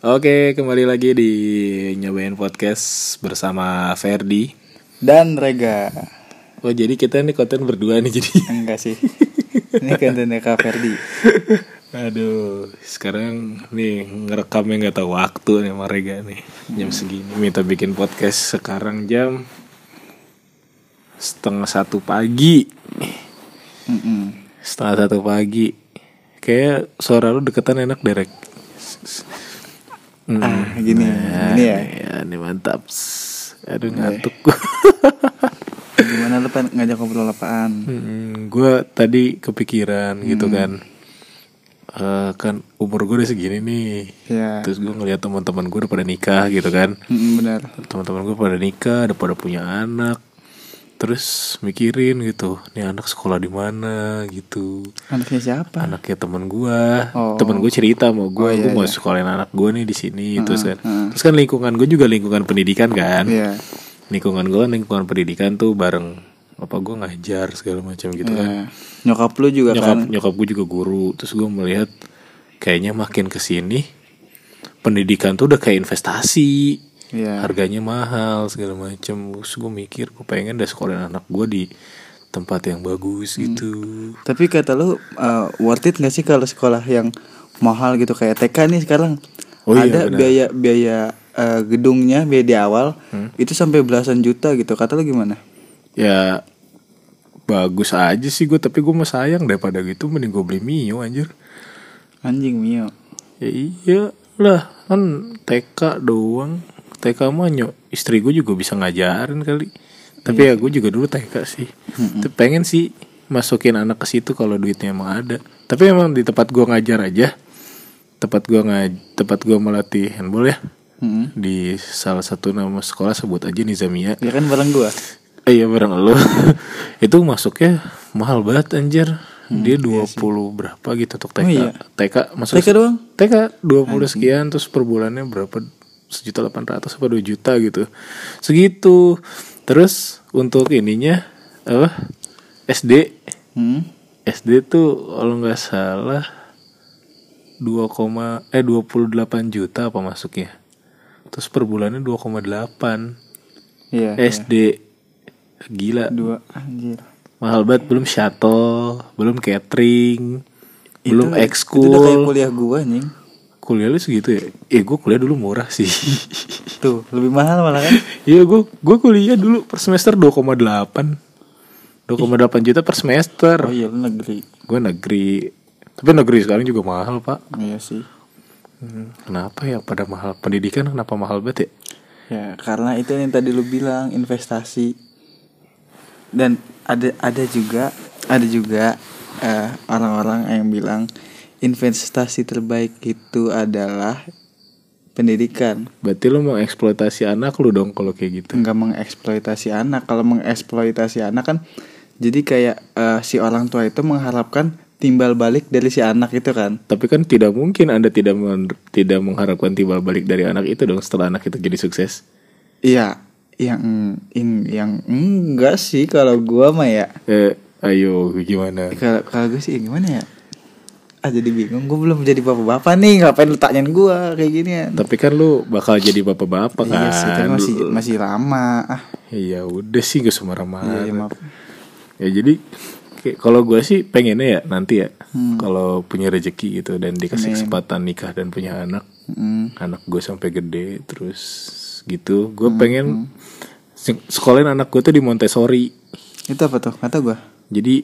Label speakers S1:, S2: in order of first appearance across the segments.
S1: Oke, kembali lagi di nyobain podcast bersama Ferdi.
S2: Dan Rega
S1: Oh, jadi kita nih konten berdua nih jadi.
S2: Enggak sih Ini kontennya Kak Ferdi
S1: Aduh, sekarang nih ngerekamnya nggak tahu waktu nih sama Rega nih. Jam segini minta bikin podcast sekarang jam setengah satu pagi.
S2: Mm-mm.
S1: Setengah satu pagi. Kayak suara lu deketan enak derek.
S2: Ah gini Gini ya
S1: Ya, ini mantap. Aduh ngantuk.
S2: Gimana lu pengen ngajak ngobrol apaan
S1: Hmm, gue tadi kepikiran gitu
S2: Hmm.
S1: kan Eh, kan umur gue udah segini nih
S2: Ya
S1: terus gue ngeliat teman-teman gue udah pada nikah gitu kan
S2: Mm-mm, Bener
S1: teman-teman gue pada nikah udah pada punya anak terus mikirin gitu nih anak sekolah di mana gitu
S2: Anaknya siapa
S1: anaknya teman gua
S2: Oh.
S1: teman gue cerita mau gue
S2: Oh, iya,
S1: gue mau
S2: iya. Hmm,
S1: sekolahin anak gue nih di sini terus kan terus kan lingkungan gue juga lingkungan pendidikan kan
S2: Iya
S1: lingkungan gue lingkungan pendidikan tuh bareng apa gue ngajar segala macam gitu kan
S2: Iya. Nyokap lu juga
S1: nyokap
S2: kan
S1: nyokap gue juga guru terus gue melihat kayaknya makin kesini pendidikan tuh udah kayak investasi
S2: Iya
S1: harganya mahal segala macem terus gue mikir gue pengen dah sekolahin anak gue di tempat yang bagus gitu
S2: Tapi kata lu uh, worth it gak sih kalau sekolah yang mahal gitu kayak TK nih sekarang
S1: Oh iya,
S2: ada
S1: benar.
S2: biaya biaya uh, gedungnya biaya di awal
S1: Hmm.
S2: itu sampai belasan juta gitu kata lu gimana?
S1: ya bagus aja sih gue tapi gue mah sayang daripada gitu mending gue beli mio anjir
S2: Anjing Mio.
S1: ya iya lah kan TK doang TK mah nyok istri gue juga bisa ngajarin kali tapi ya
S2: Iya.
S1: gue juga dulu TK sih Tapi pengen sih masukin anak ke situ kalau duitnya emang ada tapi emang di tempat gue ngajar aja tempat gue ngaj tempat gue melatih handball ya
S2: Mm-mm.
S1: di salah satu nama sekolah sebut aja Nizamia
S2: Ya kan bareng gua.
S1: Eh, iya bareng lo itu masuknya mahal banget anjir dia 20 berapa gitu untuk TK
S2: Hmm, iya Oh, iya.
S1: TK masuk
S2: TK doang.
S1: TK 20 sekian terus per bulannya berapa sejuta delapan ratus apa dua juta gitu segitu terus untuk ininya eh SD
S2: Hmm.
S1: SD tuh kalau nggak salah 2, koma- eh 28 juta apa masuknya terus per bulannya 2,8
S2: Iya.
S1: SD gila
S2: Dua anjir.
S1: mahal banget belum shuttle belum catering belum
S2: Itu udah kayak
S1: ekskul
S2: kuliah gua anjing.
S1: kuliah lu segitu ya eh gue kuliah dulu murah sih
S2: Tuh, lebih mahal malah kan.
S1: iya gue gue kuliah dulu per semester 2,8 2,8 juta per semester
S2: Oh iya, lu negeri.
S1: gue negeri tapi negeri sekarang juga mahal pak
S2: Iya sih.
S1: Hmm, kenapa ya pada mahal pendidikan kenapa mahal banget ya
S2: Ya, karena itu yang tadi lu bilang investasi. Dan ada ada juga ada juga eh, orang-orang yang bilang investasi terbaik itu adalah pendidikan.
S1: berarti lu mengeksploitasi anak lu dong kalau kayak gitu
S2: nggak mengeksploitasi anak kalau mengeksploitasi anak kan jadi kayak eh, si orang tua itu mengharapkan timbal balik dari si anak itu kan
S1: Tapi kan tidak mungkin Anda tidak men- tidak mengharapkan timbal balik dari anak itu dong setelah anak itu jadi sukses.
S2: iya yang in, yang enggak sih kalau gua mah ya
S1: Eh, ayo gimana?
S2: kalau kalau gua sih gimana ya ah jadi bingung gua belum jadi bapak-bapak nih ngapain lu tanyain gua kayak gini ya
S1: Tapi kan lu bakal jadi bapak-bapak kan.
S2: iya sih tapi masih masih lama ah
S1: Ya udah sih gak usah marah-marah.
S2: iya, maaf
S1: Ya jadi kayak- kalau gue sih pengennya ya nanti ya
S2: Hmm.
S1: kalau punya rezeki gitu dan dikasih kesempatan nikah dan punya anak,
S2: Mm,
S1: anak gue sampai gede terus gitu. Gue
S2: Hmm,
S1: pengen se- sekolahin anak gue tuh di Montessori.
S2: itu apa tuh kata gua
S1: Jadi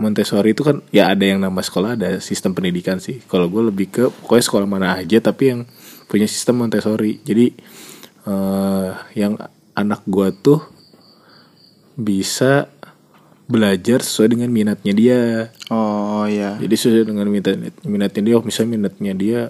S1: Montessori itu kan ya ada yang nama sekolah ada sistem pendidikan sih. Kalau gue lebih ke pokoknya sekolah mana aja tapi yang punya sistem Montessori. Jadi eh, yang anak gue tuh bisa belajar sesuai dengan minatnya dia.
S2: oh iya
S1: Jadi sesuai dengan minat minatnya dia. Oh, misalnya minatnya dia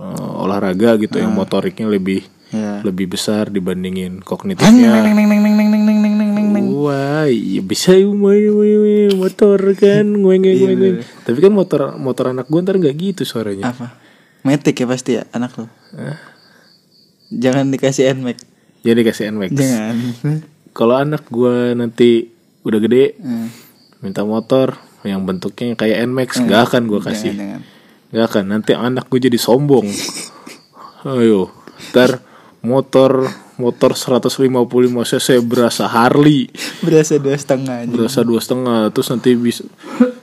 S1: eh, olahraga gitu yang motoriknya lebih
S2: iya
S1: lebih besar dibandingin
S2: Neng,
S1: kognitifnya.
S2: neng, neng, neng, neng, neng, neng, neng, neng, neng, neng.
S1: Wah, iya bisa ya, woy, woy, woy, motor kan, ngueng ngueng ngueng, ngueng. Tapi kan motor motor anak gue ntar nggak gitu suaranya.
S2: apa metik ya pasti ya anak lo
S1: Eh.
S2: jangan dikasih nmax
S1: Jadi kasih NMAX.
S2: jangan
S1: Kalau anak gue nanti udah gede
S2: Eh,
S1: minta motor yang bentuknya
S2: iya.
S1: kayak NMAX, nggak akan gue kasih,
S2: jangan
S1: nggak akan. Nanti anak gue jadi sombong. Ayo, ntar motor motor 155 cc berasa Harley,
S2: berasa dua setengah aja
S1: berasa dua setengah, terus nanti bisa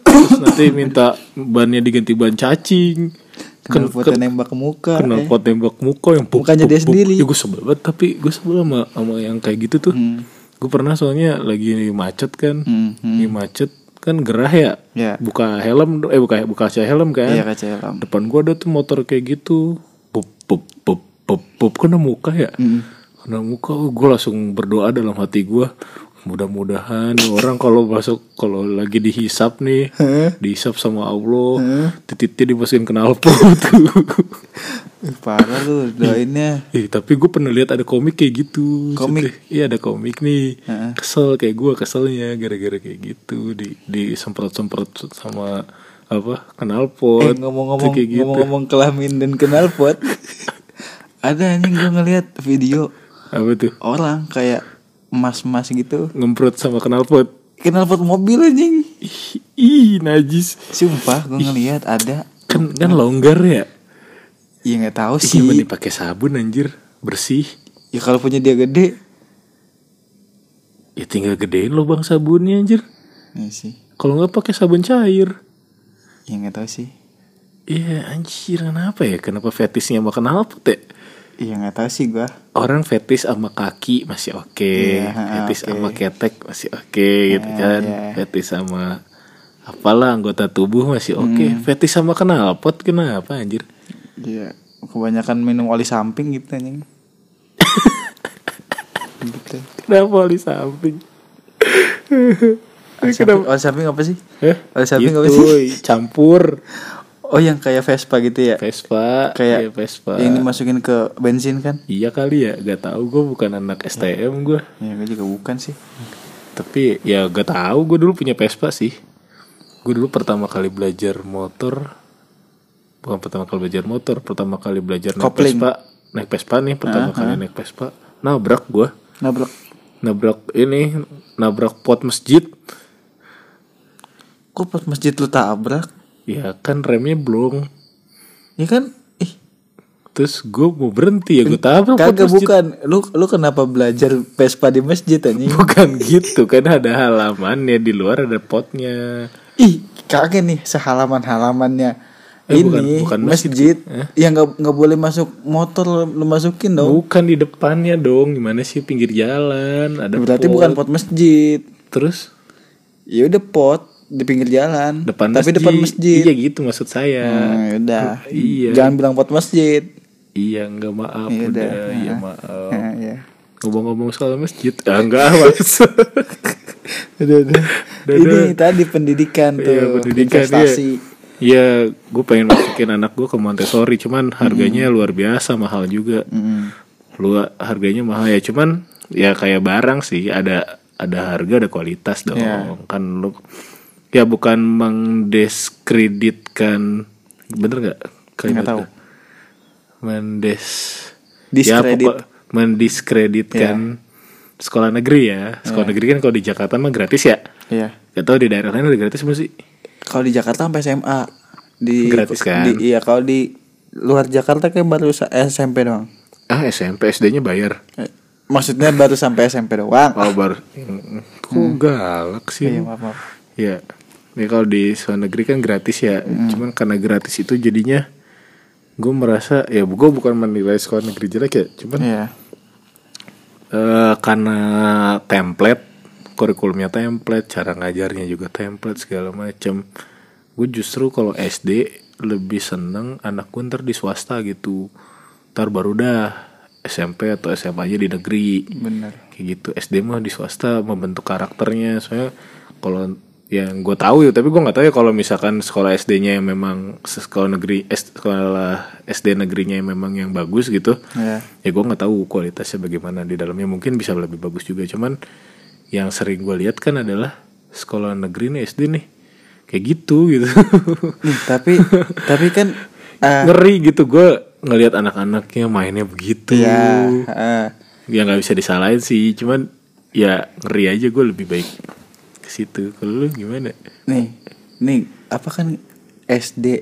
S1: terus nanti minta bannya diganti ban cacing,
S2: kenal foto nembak ke muka
S1: kenal
S2: eh.
S1: pot tembak muka yang puk,
S2: Mukanya
S1: puk,
S2: dia
S1: puk.
S2: sendiri.
S1: Ya, gue sebel banget, tapi gue sebel sama, sama yang kayak gitu tuh. Gue pernah soalnya lagi macet kan,
S2: Hmm,
S1: lagi macet kan gerah ya,
S2: Ya.
S1: buka helm, eh buka buka kaca helm kan,
S2: iya kaca helm
S1: depan gua ada tuh motor kayak gitu pop pop pop pop pop kena muka ya kena muka oh, gua langsung berdoa dalam hati gua mudah-mudahan nih orang kalau masuk kalau lagi dihisap nih dihisap sama Allah titiknya dimasukin knalpot
S2: Ih, parah lu doainnya
S1: Ih, Eh, tapi gue pernah lihat ada komik kayak gitu.
S2: Komik?
S1: Maksudnya, Iya ada komik nih.
S2: Heeh.
S1: Kesel kayak gua keselnya gara-gara kayak gitu di disemprot-semprot sama apa
S2: eh
S1: knalpot.
S2: ngomong-ngomong
S1: Tuh kayak gitu.
S2: ngomong-ngomong kelamin dan knalpot ada anjing gue ngeliat video
S1: apa tuh?
S2: orang kayak mas-mas gitu
S1: ngemprot sama knalpot
S2: knalpot mobil anjing
S1: ih, ih najis
S2: sumpah gue ngeliat ada
S1: kan kan longgar ya
S2: ya nggak tahu sih
S1: Gimana dipakai sabun anjir bersih
S2: ya kalau punya dia gede
S1: ya tinggal gedein lubang sabunnya anjir
S2: ya sih
S1: kalau nggak pakai sabun cair
S2: ya nggak tahu sih
S1: Iya anjir kenapa ya Kenapa fetisnya sama knalpot ya
S2: ya nggak tahu sih gue
S1: Orang fetis sama kaki masih oke
S2: Iya, ha,
S1: Fetis
S2: oke.
S1: sama ketek masih oke gitu kan
S2: iya.
S1: Fetis sama apalah anggota tubuh masih oke Fetis sama knalpot kenapa anjir
S2: ya kebanyakan minum oli samping gitu anjing gitu
S1: Kenapa di samping
S2: oli samping, oli samping apa sih
S1: Eh,
S2: oli samping apa
S1: gitu,
S2: sih
S1: campur
S2: oh yang kayak Vespa gitu ya
S1: Vespa iya,
S2: Kayak
S1: Vespa
S2: yang dimasukin ke bensin kan
S1: iya kali ya gak tahu gue bukan anak STM gue
S2: ya gue juga bukan sih
S1: tapi ya gak tahu gue dulu punya Vespa sih gue dulu pertama kali belajar motor bukan pertama kali belajar motor pertama kali belajar naik
S2: Kopling.
S1: Vespa naik Vespa nih pertama kali naik Vespa nabrak gue
S2: nabrak
S1: nabrak ini nabrak pot masjid
S2: kok pas masjid lu tabrak
S1: ya kan remnya blong
S2: ya kan ih
S1: terus gue mau berhenti ya gue tabrak pot
S2: kagak
S1: masjid.
S2: bukan lu lu kenapa belajar Vespa di masjid anjing
S1: Bukan gitu kan ada halamannya di luar ada potnya.
S2: Ih, kagak nih sehalaman halamannya.
S1: Eh,
S2: ini
S1: bukan- bukan masjid. Eh?
S2: masjid, yang nggak nggak boleh masuk motor lu- lu masukin dong.
S1: Bukan di depannya dong, gimana sih pinggir jalan ada
S2: Berarti
S1: pot.
S2: bukan pot masjid.
S1: Terus
S2: Ya udah pot di pinggir jalan.
S1: depan
S2: Tapi depan masjid.
S1: Iya gitu maksud saya.
S2: Nah, udah.
S1: Iya.
S2: Jangan bilang pot masjid.
S1: Iya nggak maaf
S2: Iya,
S1: udah,
S2: udah.
S1: iya maaf.
S2: Nah, ya.
S1: Ngomong-ngomong soal masjid, ah, enggak mas.
S2: Udah, udah.
S1: Udah,
S2: Ini tadi pendidikan tuh.
S1: Iya pendidikan iya.
S2: investasi.
S1: Iya, gue pengen masukin anak gue ke Montessori, cuman harganya luar biasa mahal juga. Lu harganya mahal ya, cuman ya kayak barang sih ada ada harga ada kualitas dong.
S2: Iya.
S1: Kan lu ya bukan mendeskreditkan bener nggak kalimatnya? Mendes ya,
S2: Diskredit. Iya.
S1: pokok- mendiskreditkan sekolah negeri ya. Sekolah negeri kan kalau di Jakarta mah gratis ya.
S2: Iya.
S1: Gak tau di daerah lain udah gratis belum sih?
S2: Kalau di Jakarta sampai SMA di
S1: Gratis kan?
S2: di- iya, kalau di luar Jakarta kayak baru sa- SMP doang.
S1: Ah SMP SD-nya bayar.
S2: Eh, Maksudnya baru sampai SMP doang.
S1: Kalau baru kok galak sih.
S2: Iya,
S1: lu?
S2: maaf, maaf.
S1: Iya. Ya kalau di luar negeri kan gratis ya. Cuman karena gratis itu jadinya gue merasa ya gue bukan menilai sekolah negeri jelek ya, cuman
S2: Iya.
S1: eh, karena template kurikulumnya template, cara ngajarnya juga template segala macem. Gue justru kalau SD lebih seneng anak gue ntar di swasta gitu. Ntar baru dah SMP atau SMA aja di negeri.
S2: Bener.
S1: kayak gitu SD mah di swasta membentuk karakternya soalnya kalau yang gue tahu ya tapi gue nggak tahu ya kalau misalkan sekolah SD-nya yang memang se- sekolah negeri S- sekolah SD negerinya yang memang yang bagus gitu
S2: Iya.
S1: ya gue nggak tahu kualitasnya bagaimana di dalamnya mungkin bisa lebih bagus juga cuman yang sering gue lihat kan adalah sekolah negeri nih SD nih kayak gitu gitu
S2: Nih, tapi tapi kan eh,
S1: ngeri gitu gue ngelihat anak-anaknya mainnya begitu
S2: ya eh,
S1: ya nggak bisa disalahin sih cuman ya ngeri aja gue lebih baik ke situ kalau lu gimana
S2: nih nih apa kan SD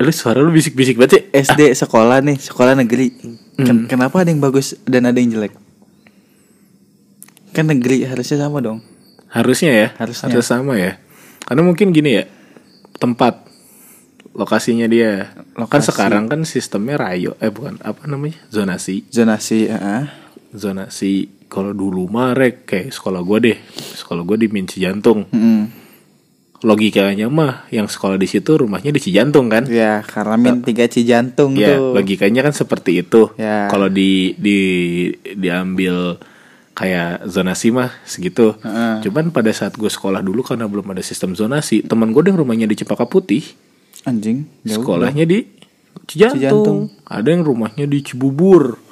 S1: Eh, lu suara lu bisik-bisik banget sih
S2: SD sekolah nih sekolah negeri Ken- Kenapa ada yang bagus dan ada yang jelek? Kan negeri harusnya sama dong.
S1: Harusnya ya,
S2: Harusnya.
S1: harus sama ya. Karena mungkin gini ya, tempat lokasinya dia. Kan
S2: Lokasi.
S1: sekarang kan sistemnya rayo, eh bukan apa namanya zonasi,
S2: Zonasi, heeh.
S1: zonasi. Kalau dulu mah rek kayak sekolah gua deh, sekolah gua di Min Cijantung.
S2: Mm-mm.
S1: Logikanya mah yang sekolah di situ rumahnya di Cijantung kan?
S2: Ya, karena min tiga cijantung
S1: Ya,
S2: tuh.
S1: logikanya kan seperti itu.
S2: Ya.
S1: Kalau di di diambil kayak zonasi mah segitu.
S2: Heeh.
S1: Cuman pada saat gue sekolah dulu karena belum ada sistem zonasi, teman gue yang rumahnya di Cempaka Putih,
S2: Ya Anjing, jauh.
S1: sekolahnya di Cijantung.
S2: Cijantung.
S1: Ada yang rumahnya di Cibubur.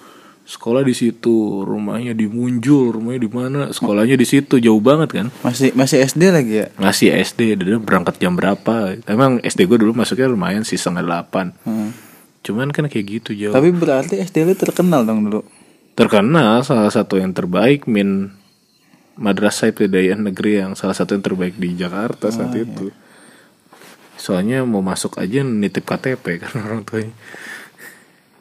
S1: Sekolah di situ, rumahnya di Munjul, rumahnya di mana, sekolahnya di situ jauh banget kan.
S2: Masih masih SD lagi ya?
S1: Ngasih SD, dia berangkat jam berapa? Emang SD gue dulu masuknya lumayan sih setengah delapan.
S2: Heeh.
S1: Cuman kan kayak gitu jauh.
S2: Tapi berarti SD lu terkenal dong dulu.
S1: terkenal salah satu yang terbaik min madrasah ibtidaiyah negeri yang salah satu yang terbaik di Jakarta saat
S2: Oh, iya.
S1: itu soalnya mau masuk aja nitip KTP kan orang tuanya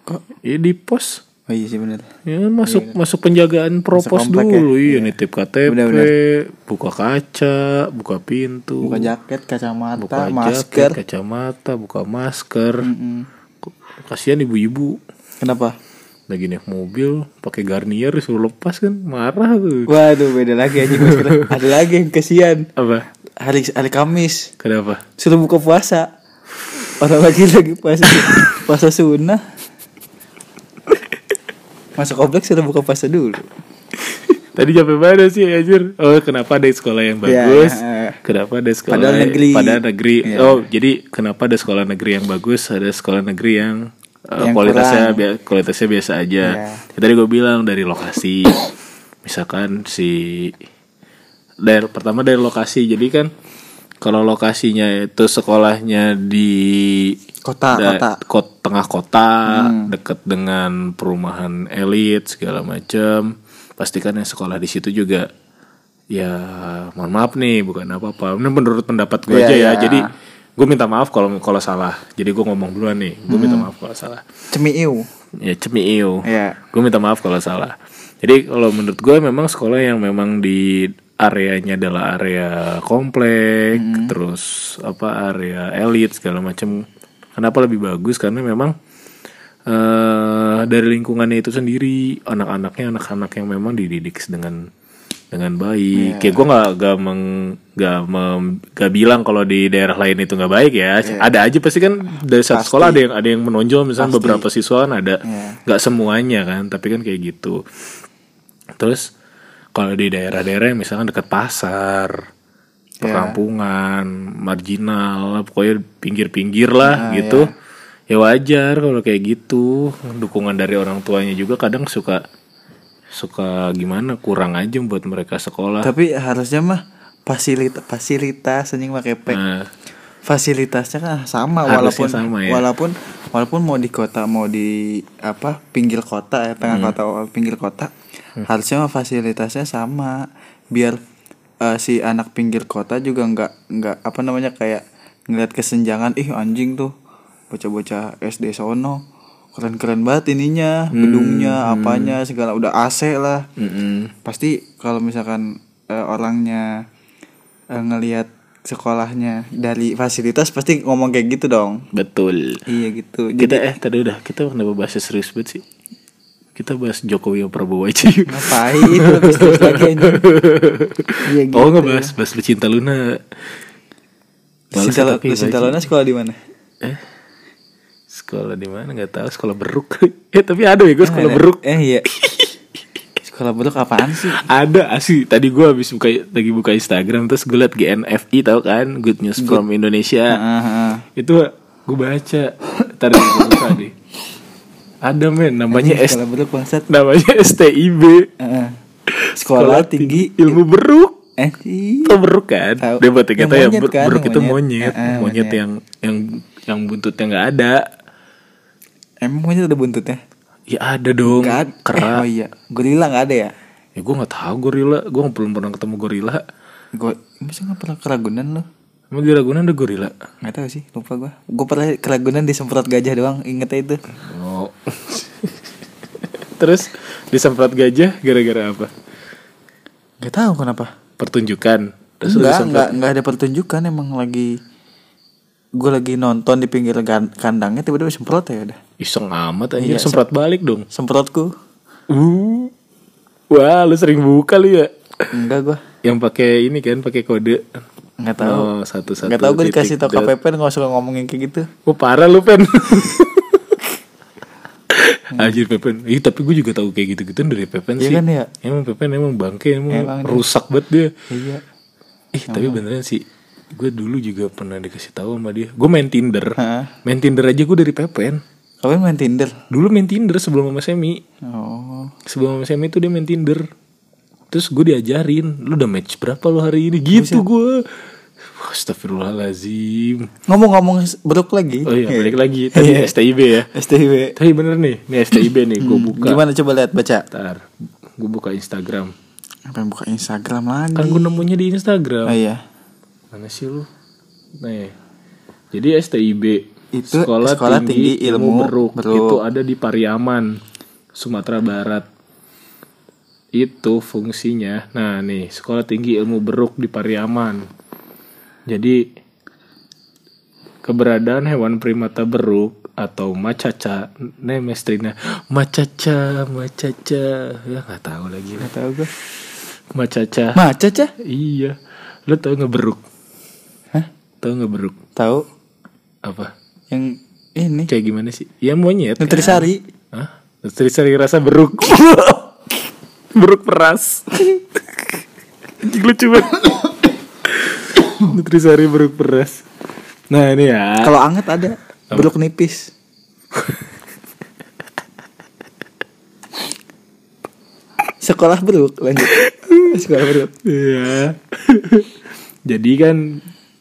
S1: kok ya di pos
S2: Oh iya sih bener.
S1: ya masuk masuk penjagaan propos
S2: Iya. komplek ya?
S1: dulu iya nitip KTP
S2: Benar-benar.
S1: buka kaca buka pintu
S2: Buka Iya. jaket, kacamata,
S1: buka
S2: masker.
S1: jaket, kacamata buka masker
S2: Mm.
S1: Kok- kasihan ibu-ibu
S2: Kenapa?
S1: lagi naik mobil pakai garnier disuruh lepas kan marah tuh
S2: Waduh, beda lagi anjing masker. Ada lagi yang kasihan.
S1: apa
S2: Hari hari Kamis
S1: kenapa
S2: suruh buka puasa. Orang lagi lagi puasa puasa sunnah. Masuk kompleks suruh buka puasa dulu.
S1: tadi sampai mana sih anjir oh kenapa ada sekolah yang bagus
S2: Ya, eh.
S1: kenapa ada sekolah
S2: Padahal negeri.
S1: padahal negeri.
S2: Ya.
S1: oh jadi kenapa ada sekolah negeri yang bagus ada sekolah negeri yang, eh,
S2: Yang
S1: kualitasnya
S2: kurang.
S1: bia- kualitasnya biasa aja Ya, tadi gue bilang dari lokasi misalkan si dari pertama dari lokasi jadi kan kalau lokasinya itu sekolahnya di
S2: Kota,
S1: da-
S2: kota. Hmm.
S1: kot- tengah kota deket dengan perumahan elit segala macam pastikan yang sekolah di situ juga ya mohon maaf nih bukan apa-apa ini menurut pendapat gue
S2: Iya,
S1: aja ya
S2: iya.
S1: jadi gue minta maaf kalau kalau salah jadi gue ngomong duluan nih gue minta
S2: Hmm.
S1: maaf kalau salah
S2: Cemiu.
S1: ya cemiu
S2: Iya.
S1: gue minta maaf kalau salah jadi kalau menurut gue memang sekolah yang memang di areanya adalah area komplek terus apa area elit segala macam kenapa lebih bagus karena memang eh dari lingkungannya itu sendiri anak-anaknya anak-anak yang memang dididik dengan dengan baik kayak gue nggak nggak meng- nggak mem- nggak bilang kalau di daerah lain itu nggak baik ya ada aja pasti kan dari satu sekolah ada yang ada yang menonjol misalnya beberapa siswa kan ada nggak semuanya kan tapi kan kayak gitu terus kalau di daerah-daerah yang misalkan dekat
S2: Iya.
S1: pasar perkampungan marginal pokoknya pinggir-pinggir
S2: Nah,
S1: lah gitu ya
S2: iya.
S1: wajar kalau kayak gitu dukungan dari orang tuanya juga kadang suka suka gimana kurang aja buat mereka sekolah
S2: Tapi harusnya mah fasilitas fasilitas anjing pakai P.
S1: Nah,
S2: Fasilitasnya kan sama
S1: Harusnya
S2: walaupun
S1: sama ya.
S2: walaupun walaupun mau di kota mau di apa pinggir kota ya tengah
S1: Hmm.
S2: kota pinggir kota harusnya mah fasilitasnya sama biar eh, si anak pinggir kota juga nggak nggak apa namanya kayak ngeliat kesenjangan ih anjing tuh bocah-bocah SD sono keren-keren banget ininya
S1: Hmm,
S2: gedungnya apanya segala udah AC lah
S1: mm-mm.
S2: pasti kalau misalkan eh, orangnya eh, ngelihat sekolahnya dari fasilitas pasti ngomong kayak gitu dong
S1: betul
S2: iya gitu jadi
S1: kita eh tadi udah kita kenapa bahas serius banget sih kita bahas Jokowi yang Prabowo aja yuk.
S2: Nah, ngapain lebih terus lagi anjing. iya gitu
S1: oh nggak bahas bahas Lucinta Luna Males
S2: Lucinta-
S1: tapi
S2: Lucinta
S1: baju.
S2: Luna sekolah di mana
S1: eh sekolah di mana nggak tahu sekolah beruk eh tapi ada ya gue sekolah
S2: Ada.
S1: beruk
S2: eh iya sekolah beruk apaan sih
S1: ada asli tadi gue habis buka lagi buka Instagram terus gue liat GNFI tau kan Good News from Indonesia
S2: Ah, ah, ah.
S1: itu gue baca tadi gue buka nih ada men namanya S
S2: sekolah beruk bangsat
S1: namanya STIB
S2: Ah, ah. sekolah tinggi
S1: ilmu beruk
S2: eh iya.
S1: Tau beruk kan
S2: Tahu.
S1: dia buat
S2: Yang
S1: kita ya
S2: monyet
S1: ber-
S2: kan,
S1: beruk
S2: yang
S1: itu
S2: monyet.
S1: monyet
S2: Ah, ah,
S1: monyet
S2: monyet.
S1: yang yang yang buntutnya nggak ada
S2: emang monyet ada buntutnya
S1: ya ada dong
S2: Nggak ada.
S1: kerak
S2: Eh, oh iya gorila nggak ada ya
S1: ya gue nggak tahu gorila gue belum pernah ketemu gorila
S2: gue masa nggak pernah keragunan lo
S1: emang di Ragunan ada gorila
S2: Gak tau sih, lupa gue Gue pernah keragunan disemprot gajah doang, ingetnya itu
S1: oh Terus disemprot gajah gara-gara apa?
S2: Gak tahu kenapa.
S1: Pertunjukan. Terus lu
S2: Enggak,
S1: disemprot.
S2: enggak, enggak ada pertunjukan emang lagi gue lagi nonton di pinggir gan- kandangnya tiba-tiba semprot ya udah.
S1: Iseng amat
S2: Iya,
S1: anjir semprot balik dong.
S2: Semprotku.
S1: Uh. Wah, lu sering buka lu ya.
S2: Enggak gua.
S1: Yang pakai ini kan pakai kode.
S2: Enggak tahu.
S1: Oh, satu-satu.
S2: Enggak tahu gue
S1: titik
S2: dikasih tau
S1: dot.
S2: KPP enggak usah ngomongin kayak gitu.
S1: Wah parah lu pen Anjir Pepen Ih tapi gue juga tahu kayak gitu-gitu dari Pepen
S2: Iya
S1: sih
S2: kan ya?
S1: Emang Pepen emang bangke Emang,
S2: Emang dia.
S1: rusak banget dia
S2: Iya.
S1: Ih tapi beneran sih Gue dulu juga pernah dikasih tahu sama dia Gue main Tinder
S2: Hah?
S1: Main Tinder aja gue dari Pepen
S2: Kalian main Tinder?
S1: Dulu main Tinder sebelum sama Semi
S2: Oh.
S1: Sebelum sama Semi tuh dia main Tinder Terus gue diajarin Lu udah match berapa lu hari ini Gitu gue Astagfirullahalazim
S2: Ngomong-ngomong brok lagi.
S1: Oh iya balik lagi Tadi STIB ya
S2: STW.
S1: Tapi bener nih, ini STIB nih, gue buka.
S2: Gimana coba lihat baca?
S1: Ntar, gue buka Instagram.
S2: Apa yang buka Instagram lagi?
S1: Kan gue nemunya di
S2: Oh
S1: Instagram.
S2: iya.
S1: Mana sih lu? Nih, jadi STIB
S2: Itu Sekolah Tinggi Ilmu
S1: Beruk.
S2: Beruk.
S1: itu ada di Pariaman, Sumatera Barat. Itu fungsinya. Nah nih, Sekolah Tinggi Ilmu Beruk di Pariaman. Jadi keberadaan hewan primata beruk atau macaca nemestrina macaca macaca ya nggak tahu lagi lah.
S2: Enggak tahu gue.
S1: macaca
S2: Maca cah?
S1: Iya. Lo tau ngeberuk?
S2: Hah?
S1: Tau ngeberuk?
S2: Tahu
S1: Apa?
S2: yang ini
S1: Kayak gimana sih? Ya monyet.
S2: Nutrisari.
S1: kan? Hah? Nutrisari rasa beruk. beruk peras. Anjing lucu banget. Nutrisari beruk peras. Nah ini ya.
S2: Kalau anget ada beruk nipis. Sekolah beruk lanjut. Sekolah beruk.
S1: Iya. Jadi kan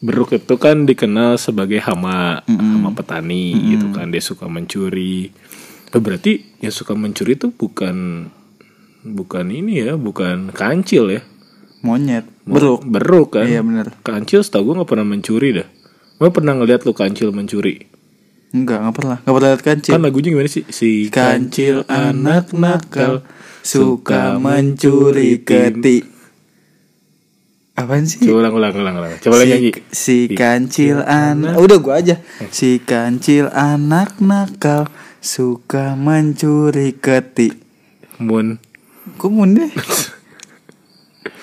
S1: beruk itu kan dikenal sebagai hama hama petani gitu kan dia suka mencuri. Eh, Berarti yang suka mencuri itu bukan bukan ini ya, bukan kancil ya.
S2: Monyet, beruk.
S1: Beruk kan.
S2: Iya benar.
S1: Kancil setahu gue gak pernah mencuri dah. Gue pernah ngeliat lu kancil mencuri.
S2: Enggak, enggak pernah. Enggak pernah lihat kancil.
S1: Kan lagunya gimana sih? Si
S2: Kan- Kancil anak nakal suka mencuri keti. Apaan sih?
S1: Coba ulang ulang ulang ulang. Coba lagi nyanyi.
S2: si, si kancil anak Oh, udah gua aja
S1: Eh.
S2: si kancil anak nakal suka mencuri keti
S1: Mun.
S2: kumun deh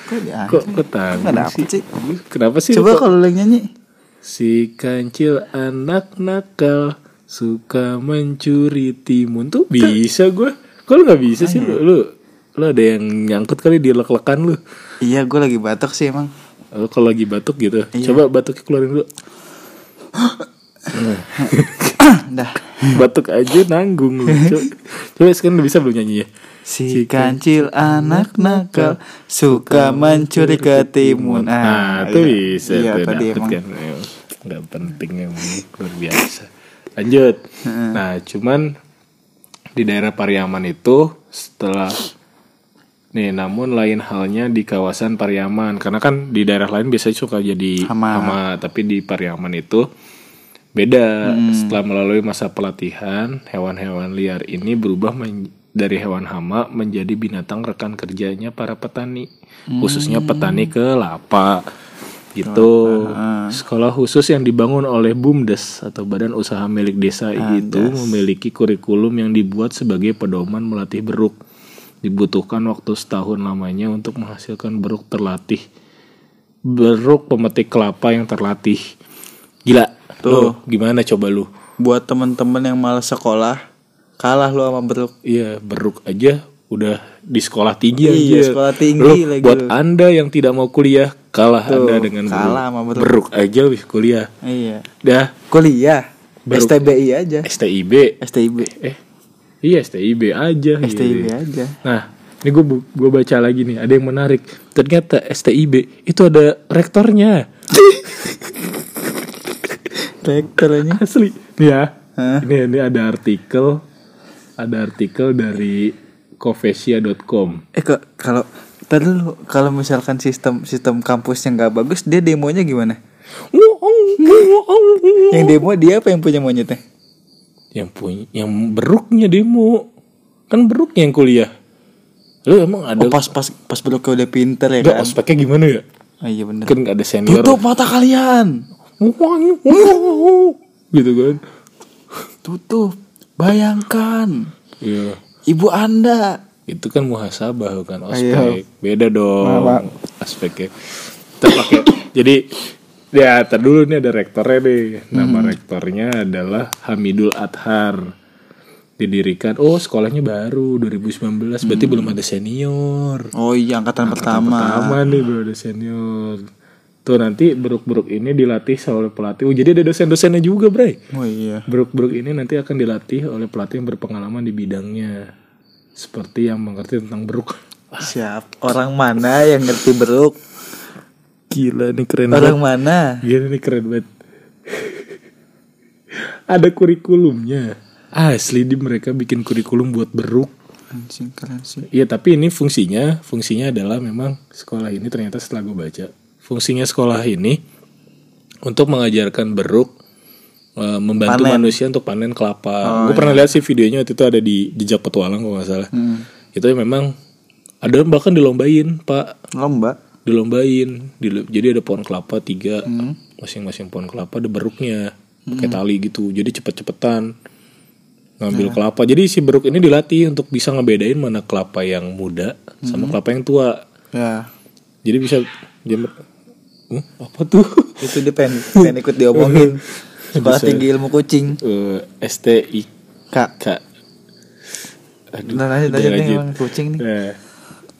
S2: Kok dia-
S1: Kok kok tahu
S2: Ah. Nggak dapet sih.
S1: Kenapa sih? lu
S2: coba
S1: kok-
S2: kalau lu yang nyanyi
S1: Si kancil anak nakal suka mencuri timun tuh bisa gue. Kok lu nggak bisa sih lu, lu? Lu ada yang nyangkut kali di lek-lekan lu.
S2: iya gua lagi batuk sih emang
S1: Lu kalau lagi batuk gitu.
S2: Iya.
S1: Coba batuknya keluarin dulu.
S2: dah
S1: Batuk aja nanggung lu. Coba, coba sekarang lu bisa belum nyanyi ya?
S2: si kancil anak nakal suka mencuri ketimun
S1: Nah, tuh bisa
S2: Ah, iya
S1: tuh
S2: tadi
S1: dapet
S2: emang
S1: kan. Emang Nggak penting emang luar biasa. Lanjut.
S2: Ah.
S1: Nah, cuman di daerah Pariaman itu setelah nih namun lain halnya di kawasan Pariaman karena kan di daerah lain biasanya suka jadi
S2: Hama.
S1: hama, tapi di Pariaman itu beda setelah melalui masa pelatihan hewan-hewan liar ini berubah men- dari hewan hama menjadi binatang rekan kerjanya para petani khususnya petani kelapa gitu sekolah khusus yang dibangun oleh bumdes atau badan usaha milik desa itu memiliki kurikulum yang dibuat sebagai pedoman melatih beruk dibutuhkan waktu setahun lamanya untuk menghasilkan beruk terlatih beruk pemetik kelapa yang terlatih gila tuh gimana coba lu
S2: buat temen-temen yang malas sekolah kalah lu sama beruk
S1: Iya beruk aja udah di sekolah tinggi
S2: Iya,
S1: aja.
S2: sekolah tinggi
S1: Lu,
S2: lagi
S1: buat
S2: lu.
S1: anda yang tidak mau kuliah kalah anda dengan
S2: kalah sama
S1: beruk.
S2: beruk.
S1: beruk aja wis kuliah
S2: iya
S1: dah
S2: kuliah
S1: Beruk.
S2: STBI aja
S1: STIB
S2: STIB
S1: eh iya STIB aja gitu.
S2: STIB aja
S1: nah ini gue gue baca lagi nih ada yang menarik ternyata STIB itu ada rektornya
S2: rektornya
S1: asli nih ya
S2: Hah?
S1: ini ini ada artikel ada artikel dari kofesia.com
S2: eh kok kalau tadi lu kalau misalkan sistem sistem kampusnya nggak bagus dia demonya gimana yang demo dia apa yang punya monyetnya
S1: yang punya yang beruknya demo kan beruknya yang kuliah lu emang ada
S2: Oh, pas pas pas Broke udah pinter ya
S1: Gak
S2: kan?
S1: ospeknya gimana ya
S2: Oh, iya bener.
S1: kan gak ada senior
S2: Tutup mata kalian.
S1: gitu kan
S2: Tutup. Bayangkan
S1: iya
S2: ibu Anda.
S1: itu kan muhasabah bukan
S2: Ayo.
S1: ospek beda dong
S2: Maaf,
S1: aspeknya kita pakai jadi ya tar dulu nih ada rektornya deh nama rektornya adalah Hamidul Adhar didirikan oh sekolahnya baru 2019 berarti belum ada senior
S2: Oh iya angkatan, pertama.
S1: pertama nih belum ada senior tuh nanti beruk-beruk ini dilatih oleh pelatih oh, jadi ada dosen-dosennya juga bray
S2: Oh iya.
S1: Beruk-beruk ini nanti akan dilatih oleh pelatih yang berpengalaman di bidangnya. Seperti yang mengerti tentang beruk.
S2: Siap. Orang mana yang ngerti beruk?
S1: Gila nih keren banget.
S2: Orang mana?
S1: Gila nih keren banget. Ada kurikulumnya. Asli di mereka bikin kurikulum buat beruk.
S2: Anjing keren sih.
S1: Iya tapi ini fungsinya, fungsinya adalah memang sekolah ini ternyata setelah gue baca. Fungsinya sekolah ini untuk mengajarkan beruk eh, membantu manusia untuk panen kelapa. gue pernah lihat sih videonya waktu itu ada di jejak petualang kalau nggak salah. Itu memang ada yang bahkan dilombain pak,
S2: Lomba.
S1: dilombain. Dilo- jadi ada pohon kelapa tiga, masing-masing pohon kelapa ada beruknya pakai tali gitu. Jadi cepet-cepetan ngambil kelapa. Jadi si beruk ini dilatih untuk bisa ngebedain mana kelapa yang muda sama kelapa yang tua.
S2: Ya.
S1: Jadi bisa Hmm? jam Huh? apa tuh?
S2: Itu dia pengen, pengen ikut diomongin. Sekolah tinggi ilmu kucing.
S1: eh STIK.
S2: Kak.
S1: Aduh,
S2: Nah, lanjut,
S1: udah
S2: lanjut nih
S1: Iya, lanjut.
S2: emang kucing nih.
S1: Nah,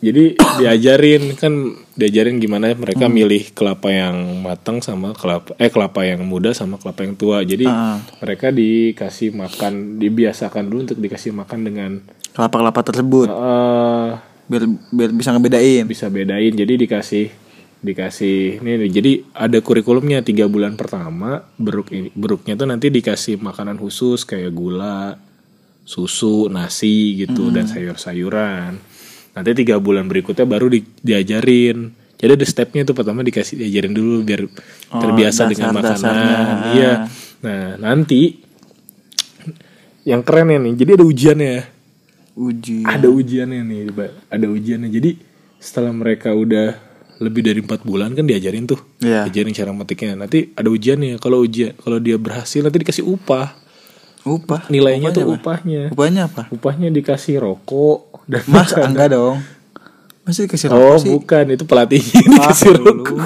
S1: jadi diajarin kan diajarin gimana mereka milih kelapa yang matang sama kelapa eh kelapa yang muda sama kelapa yang tua. Jadi
S2: Ah.
S1: mereka dikasih makan dibiasakan dulu untuk dikasih makan dengan
S2: Kelapa-kelapa tersebut
S1: eh
S2: biar biar bisa ngebedain.
S1: bisa bedain. Jadi dikasih dikasih ini nih, jadi ada kurikulumnya tiga bulan pertama beruk ini beruknya tuh nanti dikasih makanan khusus kayak gula susu nasi gitu dan sayur-sayuran nanti tiga bulan berikutnya baru di- diajarin jadi ada stepnya tuh pertama dikasih diajarin dulu biar terbiasa dengan makanan iya nah nanti yang keren ya nih jadi ada ujiannya
S2: Uji.
S1: ada ujiannya nih Ba. ada ujiannya jadi setelah mereka udah lebih dari empat bulan kan diajarin tuh
S2: Iya.
S1: diajarin cara metiknya nanti ada ujiannya kalau ujian kalau dia berhasil nanti dikasih upah
S2: Upah.
S1: nilainya tuh
S2: Upahnya apa?
S1: upahnya
S2: Upahnya apa?
S1: upahnya dikasih rokok dan
S2: Mas enggak dong. Masih dikasih
S1: oh
S2: rokok sih?
S1: bukan itu pelatihnya dikasih
S2: dulu.
S1: rokok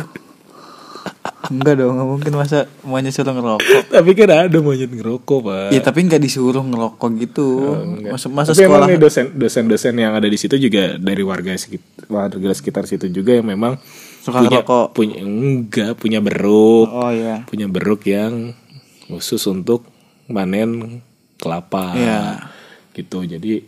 S2: Enggak dong, nggak mungkin masa maunya suruh ngerokok.
S1: tapi kan ada monyet ngerokok pak
S2: Ya tapi nggak disuruh ngerokok gitu.
S1: Oh, Enggak.
S2: Masa masa
S1: Tapi
S2: sekolah
S1: emang nih dosen dosen-dosen yang ada di situ juga dari warga sekitar, warga sekitar situ juga yang memang
S2: Suka
S1: punya,
S2: ngerokok.
S1: punya enggak punya beruk
S2: Oh iya.
S1: punya beruk yang khusus untuk panen kelapa
S2: Iya.
S1: gitu jadi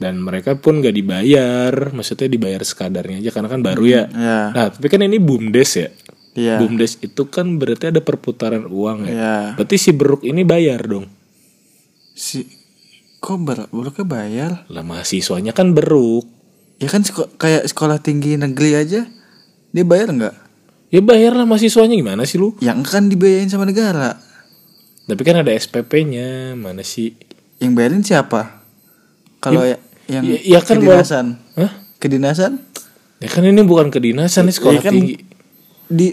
S1: dan mereka pun gak dibayar maksudnya dibayar sekadarnya aja karena kan baru ya
S2: Iya.
S1: nah tapi kan ini bumdes ya
S2: Iya.
S1: bumdes itu kan berarti ada perputaran uang ya
S2: Iya.
S1: berarti si beruk ini bayar dong
S2: Si kok ber beruknya bayar?
S1: lah mahasiswanya kan beruk
S2: Ya kan seko- kayak sekolah tinggi negeri aja dia bayar nggak?
S1: ya bayar lah mahasiswanya gimana sih lu
S2: Yang kan dibayarin sama negara.
S1: tapi kan ada SPP-nya mana sih
S2: Yang bayarin siapa? Kalau ya, yang
S1: ya- ya kan wala-
S2: kedinasan.
S1: Hah?
S2: Kedinasan?
S1: ya kan ini bukan kedinasan ini sekolah
S2: Ya kan
S1: tinggi
S2: Di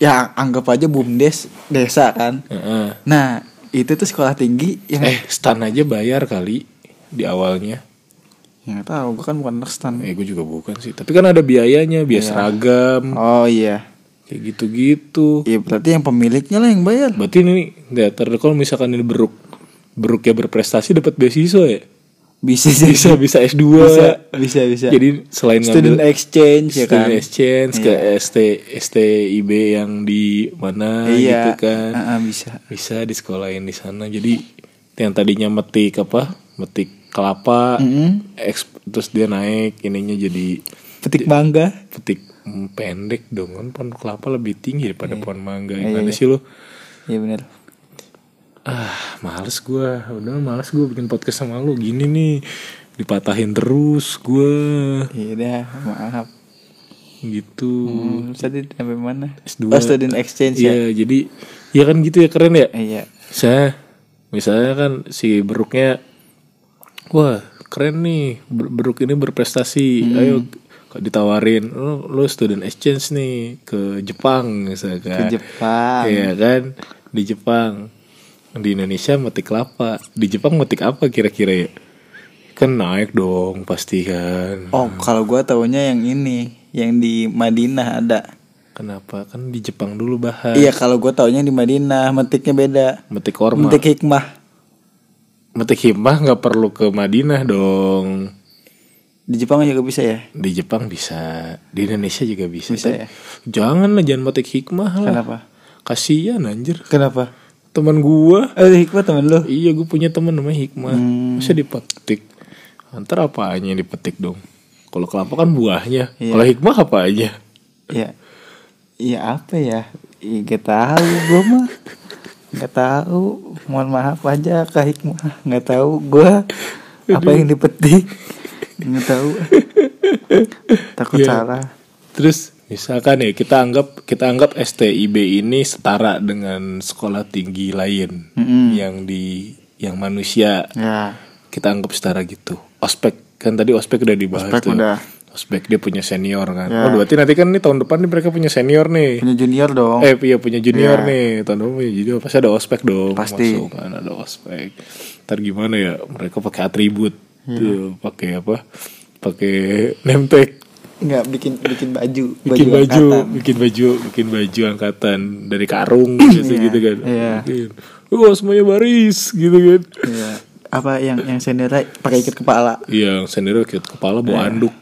S2: ya anggap aja bumdes desa kan.
S1: Heeh.
S2: Nah, itu tuh sekolah tinggi yang
S1: Eh, stan aja bayar kali di awalnya.
S2: Ya, nggak tahu, gue kan bukan anak stan.
S1: Eh, gue juga bukan sih. Tapi kan ada biayanya,
S2: Iya.
S1: biaya seragam,
S2: Oh iya.
S1: kayak gitu-gitu.
S2: Iya berarti yang pemiliknya lah yang bayar.
S1: Berarti ini ya, ter- kalau misalkan ini beruk, beruk ya berprestasi dapat beasiswa ya.
S2: Bisa jadi.
S1: Bisa bisa S2.
S2: Bisa, bisa, bisa.
S1: Jadi selain
S2: Student
S1: ngambil
S2: exchange ya
S1: student
S2: kan.
S1: exchange ke ST STIB yang di mana gitu kan.
S2: Heeh, Iya. Ah, bisa.
S1: Bisa di sekolah yang di sana. Jadi yang tadinya metik apa? Metik kelapa,
S2: Hmm.
S1: eks- terus dia naik ininya jadi
S2: Petik mangga.
S1: petik mm, pendek dong kan pohon kelapa lebih tinggi daripada pohon mangga gimana sih lo
S2: Iya benar.
S1: ah males gua udah males gua bikin podcast sama lo gini nih dipatahin terus gua
S2: Iya dah, maaf.
S1: gitu
S2: Hmm, tadi sampai mana?
S1: S2.
S2: Oh, student exchange ya.
S1: iya jadi ya kan gitu ya keren ya
S2: Iya.
S1: saya misalnya kan si beruknya wah keren nih Ber- Beruk ini
S2: Hmm.
S1: berprestasi ayo kok ditawarin lu, lu student exchange nih ke Jepang kan.
S2: ke
S1: misalkan
S2: Jepang
S1: Iya kan di Jepang di Indonesia metik kelapa di Jepang metik apa kira-kira ya kan naik dong pasti kan
S2: oh kalau gua taunya yang ini yang di Madinah ada
S1: kenapa kan di Jepang dulu bahas
S2: iya kalau gua taunya yang di Madinah metiknya beda
S1: metik korma metik,
S2: metik hikmah
S1: himbah nggak perlu ke Madinah dong
S2: di Jepang juga bisa ya
S1: di Jepang bisa di Indonesia juga bisa,
S2: Bisa
S1: Tapi
S2: ya?
S1: jangan lah jangan metik hikmah lah
S2: kenapa
S1: kasian anjir
S2: kenapa
S1: teman gua
S2: oh hikmah temen lu
S1: Iya gue punya temen namanya Hikmah
S2: Hmm.
S1: Masa dipetik Ntar apaannya yang dipetik dong Kalau kelapa kan buahnya
S2: Iya.
S1: Kalau Hikmah apa aja
S2: ya ya apa ya Ya, Gak tahu gue mah Gak tahu Mohon maaf aja Kak Hikmah Gak tahu gue Apa yang dipetik Gak tahu Takut
S1: Iya.
S2: salah
S1: Terus misalkan ya kita anggap kita anggap STIB ini setara dengan sekolah tinggi lain yang di yang manusia
S2: Ya
S1: kita anggap setara gitu. Ospek kan tadi ospek udah dibahas
S2: Ospek
S1: tuh. ya.
S2: udah.
S1: Ospek dia punya senior kan.
S2: Ya.
S1: Oh berarti nanti kan nih tahun depan nih mereka punya senior nih.
S2: Punya junior dong
S1: Eh iya punya junior
S2: Iya.
S1: nih Tahun depan punya junior Pasti ada ospek dong
S2: Pasti.
S1: Masuk kan ada ospek Ntar gimana ya Mereka pakai atribut
S2: Iya.
S1: Tuh, Pakai apa Pakai name tag
S2: Nggak bikin bikin baju
S1: Bikin baju,
S2: angkatan.
S1: Bikin baju Bikin baju angkatan Dari karung gitu,
S2: Iya,
S1: gitu kan
S2: iya.
S1: Bikin. Wah semuanya baris gitu kan
S2: Iya. Apa yang yang seniornya pakai ikat kepala
S1: Iya sendiri kayak kepala
S2: Iya.
S1: bawa anduk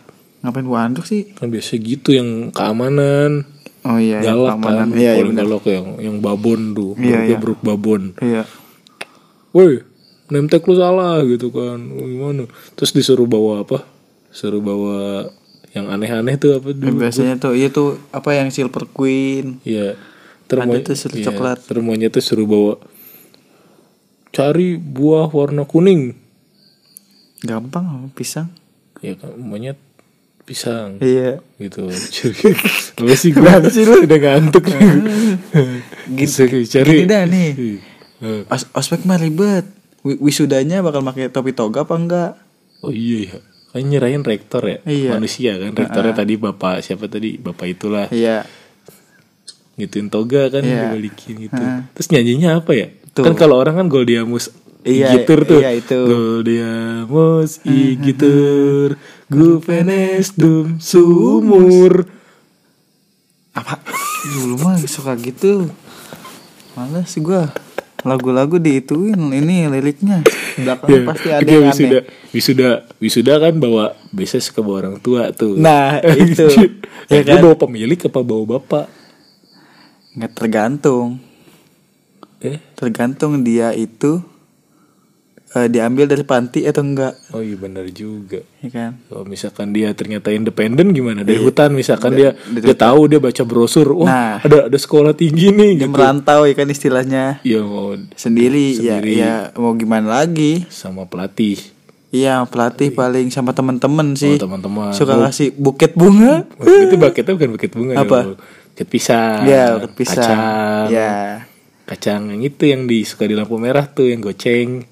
S2: Ngapain gua anduk sih
S1: Kan biasanya gitu yang keamanan
S2: Oh iya yang
S1: Galak kan
S2: keamanan. Iya iya
S1: Paling
S2: bener.
S1: galak yang, yang babon tuh
S2: Iya,
S1: Beruknya
S2: iya.
S1: beruk babon
S2: Iya
S1: woi name tag lu salah gitu kan Oh, gimana terus disuruh bawa apa suruh bawa yang aneh-aneh tuh apa
S2: Dan
S1: dulu
S2: biasanya tuh itu apa yang silver queen
S1: Iya.
S2: Ada tuh suruh coklat.
S1: termonya tuh suruh bawa cari buah warna kuning
S2: gampang pisang
S1: ya kan monyet pisang
S2: iya
S1: gitu cari apa sih gue udah ngantuk gitu cari
S2: gini dah nih.
S1: Eh,
S2: Os- ospek Iya. mah ribet Wi- wisudanya bakal pakai topi toga apa enggak
S1: oh iya ya kan nyerahin rektor ya
S2: Iya. Ah.
S1: manusia kan rektornya tadi bapak siapa tadi bapak itulah
S2: iya
S1: gituin toga kan
S2: Iya.
S1: dibalikin gitu. Terus nyanyinya apa ya?
S2: Tuh.
S1: Kan kalau orang kan Goldiamus
S2: Iya,
S1: Igitur tuh.
S2: iya, itu.
S1: Goldiamus Igitur Gupenes dum sumur.
S2: apa dulu mah suka gitu males gua lagu-lagu diituin ini liriknya belakangnya
S1: Iya.
S2: pasti ada
S1: Dia
S2: yang aneh
S1: wisuda, wisuda, wisuda kan bawa biasanya suka bawa orang tua tuh.
S2: nah itu
S1: ya
S2: ya kan
S1: bawa pemilik apa bawa bapak?
S2: nggak tergantung
S1: Eh,
S2: tergantung dia itu eh, diambil dari panti atau enggak
S1: oh iya benar juga.
S2: ya kan
S1: Kalau Oh, misalkan dia ternyata independen gimana
S2: Iya.
S1: dari hutan misalkan dia dia tahu dia baca brosur, wah
S2: Nah.
S1: ada ada sekolah tinggi nih
S2: dia
S1: gitu.
S2: merantau ya kan istilahnya
S1: Iya mau
S2: sendiri,
S1: Sendiri.
S2: ya ya mau gimana lagi
S1: sama pelatih,
S2: iya pelatih paling sama temen-temen
S1: sama
S2: sih
S1: teman-teman.
S2: suka ngasih buket bunga
S1: Waktu itu baketnya bukan buket bunga
S2: Apa?
S1: dong. Buket pisang.
S2: ya buket
S1: Nah,
S2: pisang
S1: Kacang.
S2: ya
S1: Kacang yang itu yang di suka di lampu merah tuh yang goceng.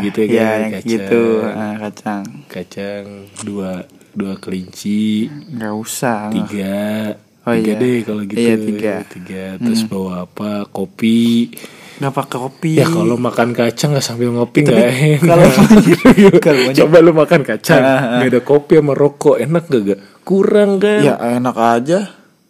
S1: Ya, gitu ya,
S2: ya
S1: kan,
S2: yang
S1: kacang.
S2: gitu Ah, kacang
S1: Kacang dua dua kelinci,
S2: nggak usah
S1: tiga.
S2: Oh,
S1: tiga
S2: iya.
S1: deh kalau gitu.
S2: Iya, tiga. Hmm.
S1: Terus bawa apa? Kopi.
S2: nggak pakai kopi
S1: Ya kalau makan kacang nggak sambil ngopi nggak enak.
S2: Iya, kalau- gitu Ah, kalau banyak-
S1: coba lu makan kacang, nggak ada kopi sama rokok enak gak gak? Kurang kan?
S2: ya enak aja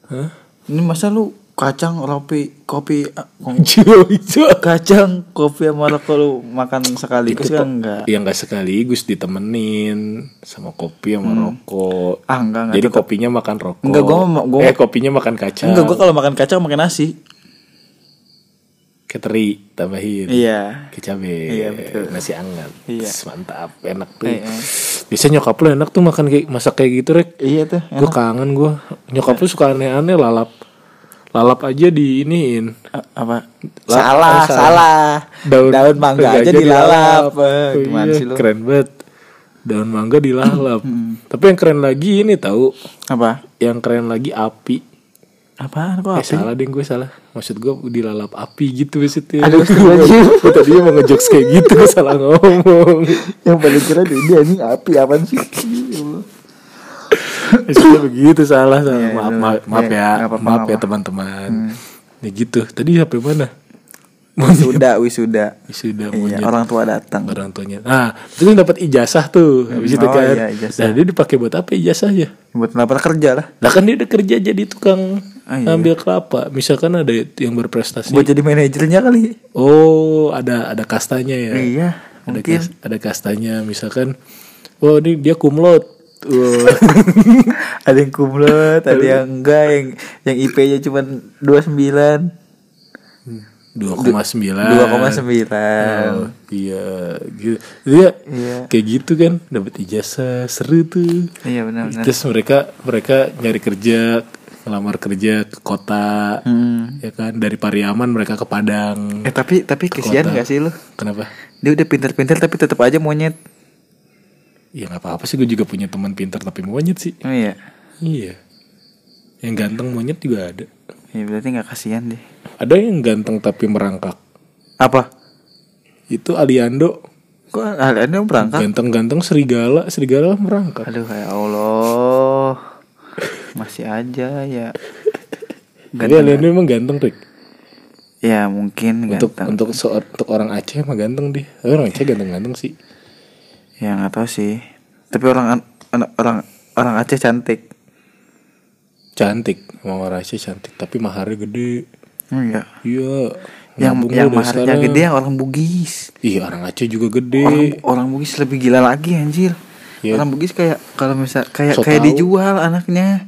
S1: Hah?
S2: ini masa lu kacang kopi kopi ah,
S1: Jiwa hijau.
S2: kacang kopi sama rokok lu makan sekaligus
S1: Itu
S2: kan
S1: kok-
S2: enggak
S1: Ya nggak sekaligus ditemenin sama kopi sama rokok.
S2: Hmm. ah enggak enggak
S1: Jadi kopinya makan rokok.
S2: Enggak, gua mau- gua
S1: eh kopinya makan kacang.
S2: enggak gua kalau makan kacang makan nasi
S1: Keteri tambahin.
S2: iya
S1: Kecabe.
S2: Iya, betul.
S1: Nasi anget.
S2: Iya.
S1: Tss, Mantap, enak tuh.
S2: Iya.
S1: Biasanya nyokap lu enak tuh makan kayak masak kayak gitu, Rek.
S2: iya tuh
S1: Gue kangen gue Nyokap lu suka aneh-aneh lalap Lalap aja diiniin
S2: A- apa
S1: La-
S2: salah
S1: oh, salah.
S2: salah daun, mangga aja dilalap Eh,
S1: Oh
S2: gimana
S1: iya,
S2: sih lu Hmm.
S1: Keren banget Daun mangga dilalap Tapi yang keren lagi ini tahu
S2: apa
S1: Yang keren lagi api
S2: Apaan kok
S1: Eh,
S2: apa?
S1: salah deh gue salah. Maksud gue dilalap api gitu maksudnya.
S2: Aduh, astagfirullahaladzim.
S1: Gue tadinya mau ngejokes kayak gitu salah ngomong.
S2: yang paling keren ini anjing api apaan sih? Ya Allah.
S1: Maksudnya begitu salah salah.
S2: Iya,
S1: maaf,
S2: iya,
S1: maaf,
S2: iya.
S1: maaf ya,
S2: Nggak apa-apa, Hmm.
S1: maaf ya
S2: nggak apa.
S1: teman-teman. Ya gitu. Tadi sampai mana? Monyet.
S2: Wisuda, wisuda.
S1: Wisuda
S2: Iya,
S1: monyet.
S2: orang tua datang.
S1: orang tuanya. Nah, itu dapat ijazah tuh habis itu
S2: Oh,
S1: kan.
S2: iya, ijazah.
S1: Nah, dia dipakai buat apa ijazahnya?
S2: Buat lapar kerja lah.
S1: Lah kan dia udah kerja jadi tukang
S2: Ah, iya.
S1: ngambil kelapa. Misalkan ada yang berprestasi.
S2: Buat jadi manajernya kali.
S1: Oh, ada ada kastanya ya.
S2: Iya,
S1: Ada
S2: mungkin.
S1: kas- ada kastanya misalkan. Wah, ini dia kumlot. Wah,
S2: ada yang kumlot, ada yang enggak, yang yang IP-nya cuma 29.
S1: 2,9.
S2: 2,9.
S1: Oh, iya, gitu. Dia
S2: Iya.
S1: kayak gitu kan dapat ijazah seru tuh.
S2: Iya benar-benar.
S1: Terus mereka mereka nyari kerja, ngelamar kerja ke kota.
S2: Hmm.
S1: Ya kan dari Pariaman mereka ke Padang.
S2: Eh tapi tapi kesian
S1: kota.
S2: gak sih lu?
S1: Kenapa?
S2: Dia udah pinter-pinter tapi tetap aja monyet.
S1: Ya nggak apa-apa sih gue juga punya teman pintar tapi monyet sih.
S2: Oh, iya.
S1: Iya. Yang ganteng monyet juga ada.
S2: Ya berarti nggak kasihan deh.
S1: Ada yang ganteng tapi merangkak.
S2: Apa?
S1: Itu Aliando.
S2: Kok ada berangkat?
S1: Ganteng-ganteng serigala, serigala merangkak.
S2: Aduh ya Allah. Masih aja ya.
S1: Jadi Aliando emang ganteng, Rick.
S2: Ya mungkin
S1: Untuk
S2: ganteng.
S1: untuk seor- untuk orang Aceh emang ganteng dia. Eh, Orang Aceh ganteng-ganteng sih.
S2: Ya nggak tahu sih. Tapi orang orang orang, orang Aceh cantik.
S1: Cantik, emang orang Aceh cantik, tapi maharnya gede.
S2: Iya.
S1: Iya.
S2: Yang
S1: nabung lu
S2: yang
S1: dari
S2: maharnya
S1: sekarang.
S2: gede Oh. yang orang Bugis.
S1: Iya, orang Aceh juga gede.
S2: Orang orang Bugis lebih gila lagi anjir.
S1: Iya.
S2: Orang Bugis kayak kalau misal kayak
S1: So
S2: kayak
S1: tau.
S2: dijual anaknya.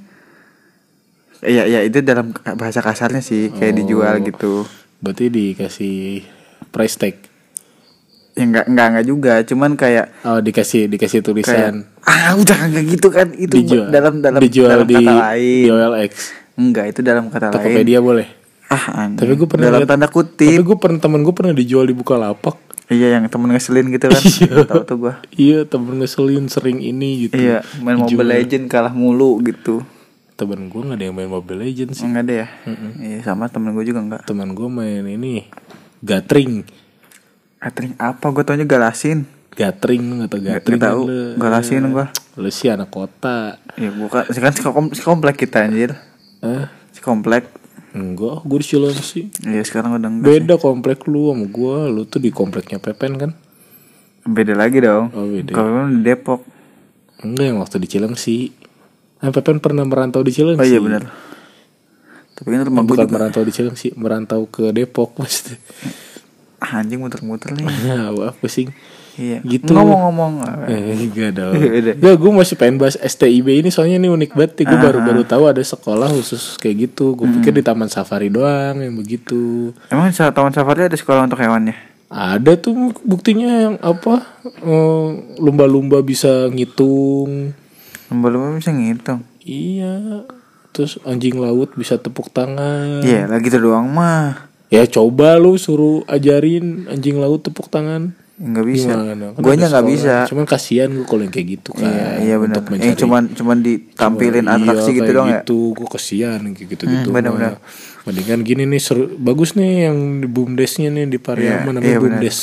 S2: Iya ya itu dalam bahasa kasarnya sih
S1: Oh.
S2: kayak dijual gitu.
S1: Berarti dikasih price tag.
S2: Ya enggak enggak enggak juga, cuman kayak
S1: Oh, dikasih dikasih
S2: kayak
S1: tulisan
S2: ah udah enggak gitu kan itu
S1: dijual
S2: dalam dalam
S1: dijual
S2: dalam
S1: di,
S2: kata
S1: di
S2: lain.
S1: OLX.
S2: Enggak, itu dalam kata lain.
S1: Tokopedia boleh.
S2: Ah, anjing.
S1: Tapi gue pernah
S2: dalam
S1: liat-
S2: tanda
S1: Tapi
S2: kutip.
S1: gue pernah temen gue pernah dijual di Bukalapak.
S2: Iya, yang temen ngeselin gitu kan.
S1: Iya.
S2: Tahu tuh gua.
S1: Iya temen ngeselin sering ini gitu.
S2: Iya, main
S1: Dijual.
S2: Mobile Legend kalah mulu gitu.
S1: Temen gue nggak ada yang main Mobile Legends sih.
S2: Enggak ada ya? Iya, sama temen gue juga enggak.
S1: Temen gue main ini Gatring.
S2: Catering apa? Gue taunya galasin.
S1: Gatring lu nggak tau
S2: Nggak-
S1: Gatring?
S2: nggak tahu.
S1: lu.
S2: Galasin
S1: Iya.
S2: gua.
S1: Lu sih anak kota.
S2: Ya bukan, kan sekom- sekomplek kita anjir.
S1: Eh,
S2: Sekomplek.
S1: enggak, gue di Cilengsi.
S2: Iya, sekarang udah enggak.
S1: Beda komplek lu sama gue. Lu tuh di kompleknya Pepen kan?
S2: Beda lagi dong.
S1: Oh, beda.
S2: Kalau memang di Depok.
S1: Enggak yang waktu di Cilengsi. Nah, Pepen pernah merantau di Cilengsi.
S2: Oh iya benar. Tapi kan rumah gue
S1: Bukan
S2: juga
S1: merantau di Cilengsi, merantau ke Depok pasti.
S2: Ah, anjing muter-muter nih.
S1: Ya, wah pusing.
S2: Iya.
S1: Gitu.
S2: Ngomong-ngomong.
S1: Eh, enggak dong.
S2: Beda. Ah.
S1: Enggak, gue masih pengen bahas STIB ini soalnya ini unik banget. Gue baru-baru tahu ada sekolah khusus kayak gitu. Gue
S2: Hmm.
S1: pikir di Taman Safari doang yang begitu.
S2: Emang sa- taman safari ada sekolah untuk hewannya?
S1: Ada tuh buktinya yang apa? eh, Lumba-lumba bisa ngitung.
S2: Belum bisa ngitung.
S1: Iya. Terus anjing laut bisa tepuk tangan.
S2: Iya, lagi itu doang mah.
S1: Ya coba lu suruh ajarin anjing laut tepuk tangan.
S2: Enggak bisa.
S1: Gimana? Kan
S2: Guanya
S1: ada
S2: nggak bisa.
S1: sekolah. Cuman kasihan gue kalau yang kayak gitu kan.
S2: Iya, iya benar.
S1: Untuk
S2: Eh
S1: mencari-
S2: cuman cuman ditampilin
S1: Iya,
S2: atraksi gitu
S1: kayak
S2: doang ya.
S1: gitu. Gue kasihan kayak gitu-gitu.
S2: Hmm, benar-benar.
S1: mah. Mendingan gini nih seru, bagus nih yang di BUMDesnya nih di Pariaman
S2: Iya,
S1: namanya
S2: iya, benar.
S1: BUMDes.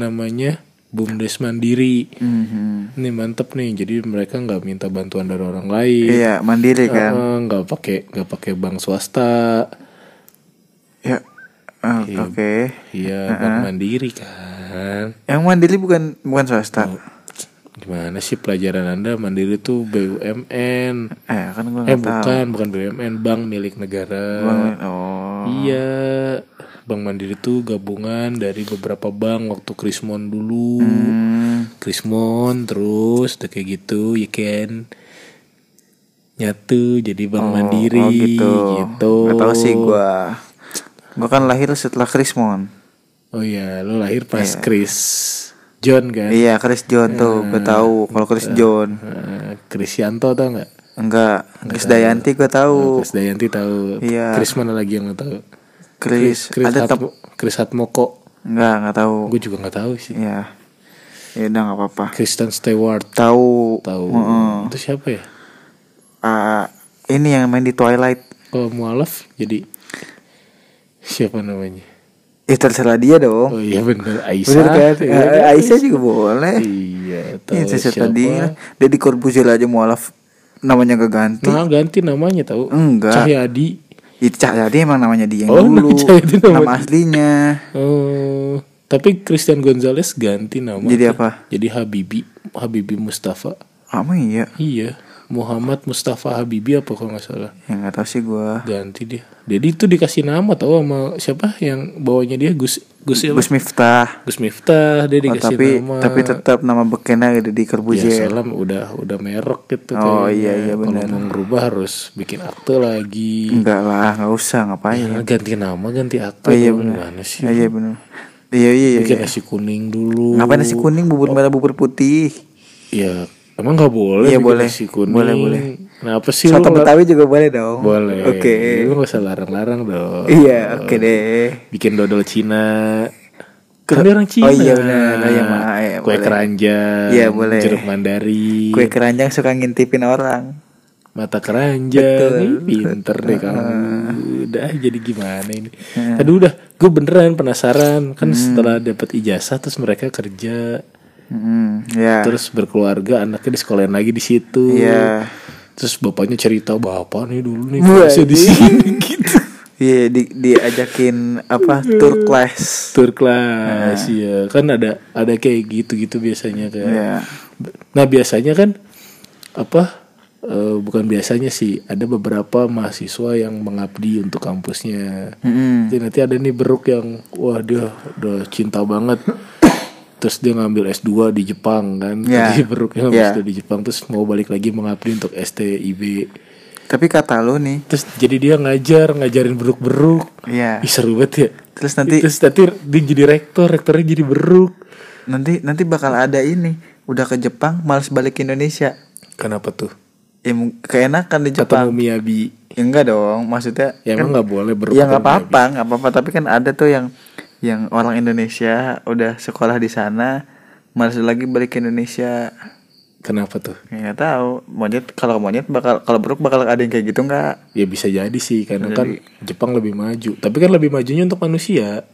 S1: Namanya BUMDes Mandiri.
S2: Mhm.
S1: Nih mantep nih. Jadi mereka nggak minta bantuan dari orang lain.
S2: Iya, mandiri kan.
S1: Eh, nggak pakai nggak pakai bank swasta.
S2: ya. Ah, Oke.
S1: Iya, bank mandiri kan.
S2: Yang mandiri bukan bukan swasta.
S1: Oh. Gimana sih pelajaran Anda mandiri tuh BUMN?
S2: Eh, kan gua
S1: Eh
S2: enggak tahu.
S1: bukan, bukan BUMN, bank milik negara.
S2: Bang- Oh.
S1: Iya, Bank Mandiri tuh gabungan dari beberapa bank waktu Krismon dulu.
S2: Hmm.
S1: Krismon terus udah kayak gitu, ya kan nyatu jadi Bank Mandiri
S2: Oh gitu.
S1: gitu.
S2: Gak tau sih gua. Gua kan lahir setelah Krismon.
S1: Oh iya, lo lahir pas Chris John kan?
S2: Iya, Chris John tuh. Gua tahu kalau Chris John.
S1: Eh, Krisyanto tau nggak? Eh,
S2: Enggak, Chris Dayanti gua tahu.
S1: Chris Dayanti tahu.
S2: Oh. Iya.
S1: Chris mana lagi yang nggak tahu?
S2: Chris,
S1: Chris
S2: ada tep-
S1: Hatmo- Chris Hatmoko.
S2: enggak, enggak tahu.
S1: Gue juga nggak tahu sih.
S2: Iya. Ya udah enggak apa-apa.
S1: Kristen Stewart
S2: Tahu
S1: tahu. Itu siapa ya?
S2: ah, ini yang main di Twilight.
S1: kalau mualaf jadi siapa namanya
S2: Eh terserah dia dong.
S1: oh iya bener Aisyah
S2: Bener kan?
S1: Iya,
S2: Eh,
S1: kan?
S2: Aisyah juga boleh.
S1: iya tahu
S2: Ini saya
S1: siapa
S2: tadi Deddy Corbuzier aja mualaf namanya gak ganti.
S1: nah ganti namanya tahu
S2: Enggak.
S1: Cahyadi
S2: Itu Cahyadi emang namanya dia yang
S1: Oh,
S2: dulu.
S1: Cahyadi namanya.
S2: Nama aslinya.
S1: Oh, tapi Christian Gonzalez ganti nama.
S2: Jadi
S1: tuh.
S2: apa?
S1: Jadi Habibi, Habibi Mustafa.
S2: Apa iya?
S1: Iya, Muhammad Mustafa Habibi apa kalau nggak salah.
S2: Ya nggak tahu sih gua.
S1: Ganti dia. Jadi itu dikasih nama tau sama siapa yang bawanya dia Gus Gus Gus,
S2: Gus Miftah.
S1: Gus Miftah dia
S2: Oh,
S1: dikasih
S2: tapi
S1: nama.
S2: tapi tetap nama bekennya Deddy
S1: ya
S2: Corbuzier.
S1: salam udah udah merek gitu
S2: Oh,
S1: kayaknya.
S2: iya, iya,
S1: Kalau
S2: benar.
S1: mau ngerubah harus bikin akte lagi.
S2: Enggak lah, nggak usah ngapain.
S1: Nah, ganti nama, ganti akte.
S2: Iya, Oh iya
S1: dong.
S2: benar.
S1: Gimana sih?
S2: Iya iya, benar. Iya iya iya.
S1: Bikin Oh. nasi kuning dulu.
S2: Ngapain nasi kuning, bubur merah, bubur putih?
S1: Ya, emang nggak boleh
S2: Iya,
S1: bikin
S2: boleh.
S1: nasi kuning.
S2: Boleh, boleh.
S1: Nah, apa sih lu
S2: Soto
S1: nggak-
S2: Betawi juga boleh dong.
S1: Boleh.
S2: Oh, Oke.
S1: Lu nggak usah larang-larang dong.
S2: Iya, oke deh.
S1: Bikin dodol Cina.
S2: Ke-
S1: Kan dia orang Cina.
S2: Oh iya, benar. Oh iya, maaf. Iya,
S1: Kue
S2: boleh.
S1: keranjang.
S2: Iya, boleh.
S1: Jeruk mandari.
S2: Kue keranjang suka ngintipin orang.
S1: Mata keranjang.
S2: Betul.
S1: Ih, Pinter deh kamu. Udah jadi gimana ini. Aduh udah. Gue beneran penasaran. Kan setelah dapat ijazah terus mereka kerja.
S2: Hmm, ya.
S1: Terus berkeluarga. Anaknya di sekolah lagi di situ.
S2: Iya.
S1: Terus bapaknya cerita bapak nih dulu nih
S2: Wah,
S1: kelasnya di
S2: iya.
S1: sini gitu.
S2: Iya, di, diajakin apa tour class.
S1: Tur kelas iya. kan ada ada kayak gitu-gitu biasanya kan.
S2: Nah. Iya.
S1: Nah, biasanya kan apa eh, bukan biasanya sih ada beberapa mahasiswa yang mengabdi untuk kampusnya.
S2: Mm-mm.
S1: Jadi nanti ada nih beruk yang wah dia udah cinta banget. Terus dia ngambil S2 di Jepang kan.
S2: Iya.
S1: Jadi beruknya ngambil
S2: Iya.
S1: S2 di Jepang terus mau balik lagi mengabdi untuk STIB.
S2: Tapi kata lu nih,
S1: Terus jadi dia ngajar, ngajarin beruk-beruk.
S2: iya.
S1: Ih, seru banget ya.
S2: Terus nanti
S1: Terus nanti dia jadi rektor, rektornya jadi beruk.
S2: nanti nanti bakal ada ini. Udah ke Jepang, males balik ke Indonesia.
S1: Kenapa tuh?
S2: Ya, mung- keenakan di
S1: Ketemu
S2: Jepang.
S1: Miyabi.
S2: Ya enggak dong, maksudnya
S1: Ya emang nggak boleh beruk.
S2: ya nggak
S1: ketemu Miyabi.
S2: apa-apa nggak apa-apa tapi kan ada tuh yang yang orang Indonesia udah sekolah di sana malas lagi balik ke Indonesia
S1: Kenapa tuh?
S2: Ya, nggak tahu monyet kalau monyet bakal kalau beruk bakal ada yang kayak gitu nggak
S1: Ya bisa jadi sih karena kan Jepang lebih maju. Tapi kan lebih majunya untuk manusia.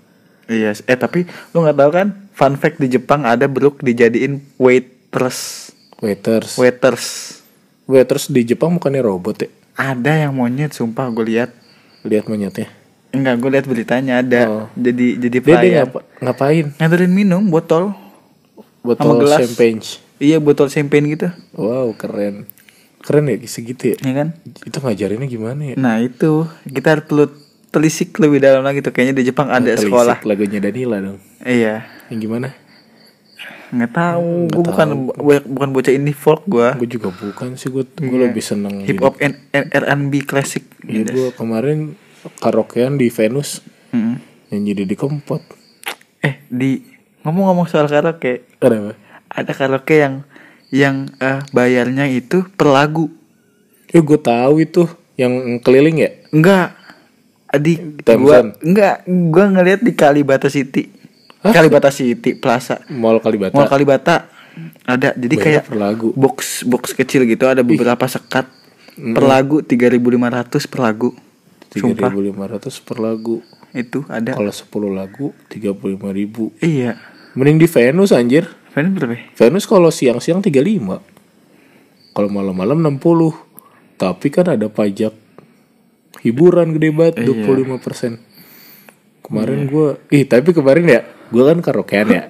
S2: iya s- eh tapi lu nggak tahu kan fun fact di Jepang ada beruk dijadiin waitress
S1: Waiters.
S2: waiters
S1: Waiters di Jepang bukannya robot ya?
S2: ada yang monyet sumpah gue lihat
S1: Lihat monyetnya.
S2: enggak gue lihat beritanya ada
S1: Oh.
S2: jadi
S1: Dia,
S2: jadi
S1: dia
S2: pelayan
S1: ngapa- ngapain?
S2: nganterin minum botol
S1: Botol
S2: gelas.
S1: champagne.
S2: iya botol champagne gitu
S1: Wow keren. Keren ya segitu ya?
S2: ya kan
S1: Itu ngajarinnya gimana ya?
S2: Nah itu kita harus perlu telisik lebih dalam lagi tuh kayaknya di Jepang ada
S1: Telisik
S2: sekolah.
S1: lagunya Danila dong.
S2: Iya.
S1: Yang gimana?
S2: Nggak tahu, gue bukan bu- bukan bocah indie folk gue.
S1: Gue juga bukan sih gue lebih seneng
S2: Hip hop and, and R&B klasik.
S1: Jadi gue kemarin karaokean di Venus
S2: Mm.
S1: nyanyi jadi Kempot.
S2: Eh di ngomong-ngomong soal karaoke,
S1: Kenapa?
S2: ada karaoke yang yang eh, bayarnya itu per lagu.
S1: Eh gue tahu itu yang keliling ya.
S2: Enggak. Di gua
S1: Thompson.
S2: enggak, gua ngelihat di Kalibata City. Kalibata City Plaza.
S1: Mall Kalibata.
S2: Mall iya. Kalibata ada jadi
S1: Bayar
S2: kayak
S1: per lagu.
S2: box box kecil gitu ada beberapa sekat per lagu 3.500 per lagu sumpah Iya.
S1: 3.500 per lagu.
S2: itu ada
S1: Kalau 10 lagu 35.000.
S2: iya
S1: Mending di Venus anjir.
S2: Fan berapa ya?
S1: Venus kalau siang-siang 35. Kalau malam-malam 60. Tapi kan ada pajak hiburan gede banget 25%. Kemarin gua ih tapi kemarin ya gua kan karaokean ya.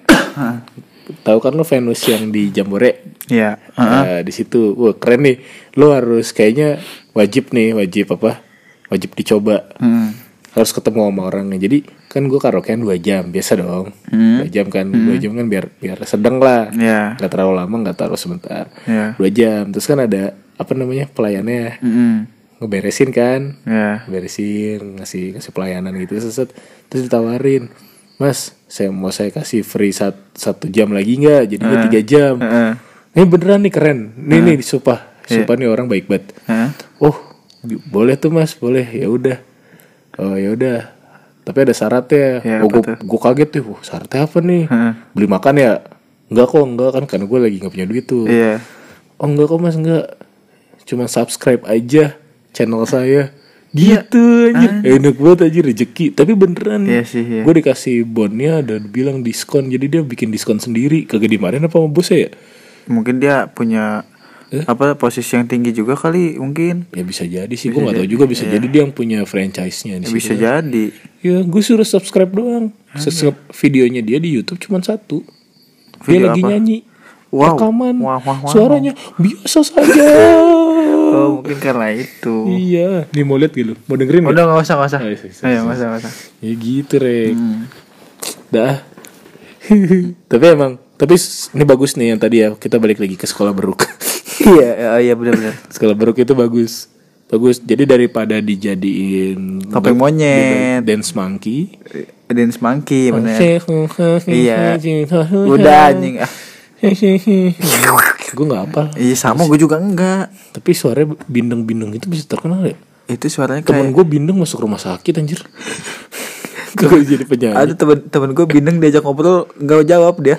S1: Tahu kan lo Venus yang di Jambore?
S2: iya heeh.
S1: Nah, di situ wah keren nih. Lo harus kayaknya wajib nih, wajib apa? Wajib dicoba.
S2: Hmm.
S1: Harus ketemu sama orangnya. Jadi kan gue karaokean dua jam, biasa dong. Dua jam kan, dua jam kan biar biar sedang lah.
S2: Iya.
S1: Gak terlalu lama, gak terlalu sebentar.
S2: Iya.
S1: Dua jam. Terus kan ada apa namanya pelayannya
S2: Mm-mm.
S1: ngeberesin kan,
S2: Iya.
S1: beresin ngasih ngasih pelayanan gitu seset terus ditawarin mas saya mau saya kasih free sat- satu jam lagi nggak jadinya tiga jam
S2: Heeh.
S1: ini beneran nih keren nih nih sumpah sumpah nih orang baik banget
S2: Heeh.
S1: oh bi- boleh tuh mas boleh ya udah oh ya udah tapi ada syaratnya
S2: Ya,
S1: oh,
S2: apa
S1: gue kaget tuh "Wah, syaratnya apa nih
S2: Heeh.
S1: beli makan ya enggak kok enggak kan karena gue lagi nggak punya duit tuh
S2: iya
S1: Oh enggak kok mas enggak Cuma subscribe aja channel saya gitu anjir enak banget aja rezeki tapi beneran
S2: Iya sih, Ah. iya.
S1: gue dikasih bonnya dan bilang diskon jadi dia bikin diskon sendiri kagak dimarahin apa sama bosnya ya
S2: mungkin dia punya apa posisi yang tinggi juga kali mungkin
S1: ya bisa jadi sih gue nggak tahu juga bisa jadi dia yang punya franchise-nya di
S2: Iya. bisa
S1: situ
S2: jadi
S1: ya gue suruh subscribe doang subscribe videonya dia di YouTube cuma satu dia
S2: Video
S1: lagi
S2: apa?
S1: nyanyi
S2: Wow.
S1: rekaman
S2: Wah, wah, wah.
S1: suaranya biasa saja
S2: oh mungkin karena itu
S1: iya nih mau lihat gitu mau dengerin nggak?
S2: udah nggak usah nggak usah
S1: Ayo, ayo, ayo.
S2: ayo nggak usah nggak usah
S1: ya gitu rek
S2: Hmm.
S1: dah tapi emang tapi s- ini bagus nih yang tadi ya kita balik lagi ke sekolah beruk
S2: iya oh iya benar-benar
S1: sekolah beruk itu bagus bagus jadi daripada dijadiin
S2: Topeng
S1: dan-
S2: monyet.
S1: dance monkey
S2: dance monkey benar Iya. udah anjing ah.
S1: gue nggak apa
S2: iya sama gue juga enggak
S1: tapi suaranya bindeng-bindeng itu bisa terkenal ya
S2: itu suaranya
S1: temen
S2: kayak
S1: gue bindeng masuk rumah sakit anjir gue jadi penyanyi
S2: ada temen temen gue bindeng diajak ngobrol nggak jawab dia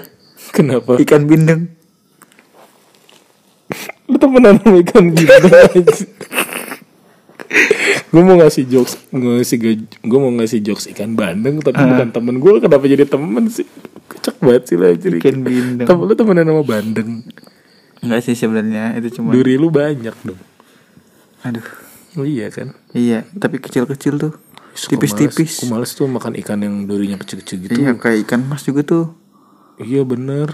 S1: kenapa
S2: ikan bindeng
S1: lu temenan sama ikan bindeng gue mau ngasih jokes ngasih gue mau ngasih jokes ikan bandeng tapi
S2: Ah.
S1: bukan temen gue kenapa jadi temen sih kocak banget sih lah jadi
S2: Ikan bindeng.
S1: lu temenan sama bandeng
S2: enggak sih sebenarnya itu cuma
S1: duri lu banyak dong
S2: aduh
S1: Oh iya kan
S2: iya tapi kecil-kecil tuh
S1: Suka males. Gua
S2: tipis-tipis
S1: males tuh makan ikan yang durinya kecil-kecil gitu
S2: iya kayak ikan mas juga tuh
S1: Iya bener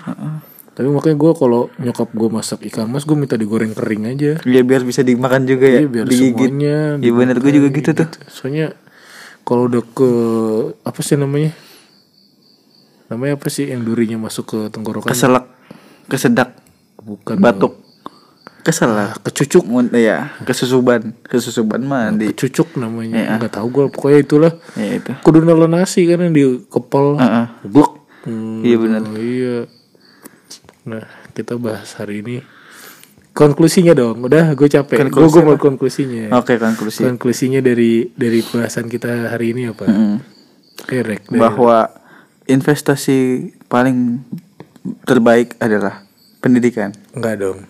S1: Tapi makanya gue kalau nyokap gue masak ikan mas Gue minta digoreng kering aja
S2: Iya biar bisa dimakan juga
S1: Iya
S2: ya
S1: biar semuanya
S2: Iya bener gue juga gitu tuh
S1: Soalnya kalau udah ke Apa sih namanya Namanya apa sih yang durinya masuk ke tenggorokan
S2: Keselak Kesedak
S1: Bukan
S2: Batuk Keselak
S1: Ah, Kecucuk
S2: Mun- Iya Kesusuban Kesusuban mah di
S1: Kecucuk namanya
S2: Iya.
S1: Nggak tahu gue pokoknya itulah
S2: Ya itu
S1: Kudu nelen nasi kan yang di kepel
S2: Heeh.
S1: Blok Hmm,
S2: Ah, Iya bener
S1: Iya Nah kita bahas hari ini Konklusinya dong Udah gue capek Gue
S2: Konklusi Oh,
S1: gue mau konklusinya
S2: Oke konklusi
S1: Konklusinya dari dari bahasan kita hari ini apa?
S2: Mm.
S1: Erek dari-
S2: Bahwa Investasi Paling Terbaik adalah Pendidikan
S1: enggak dong.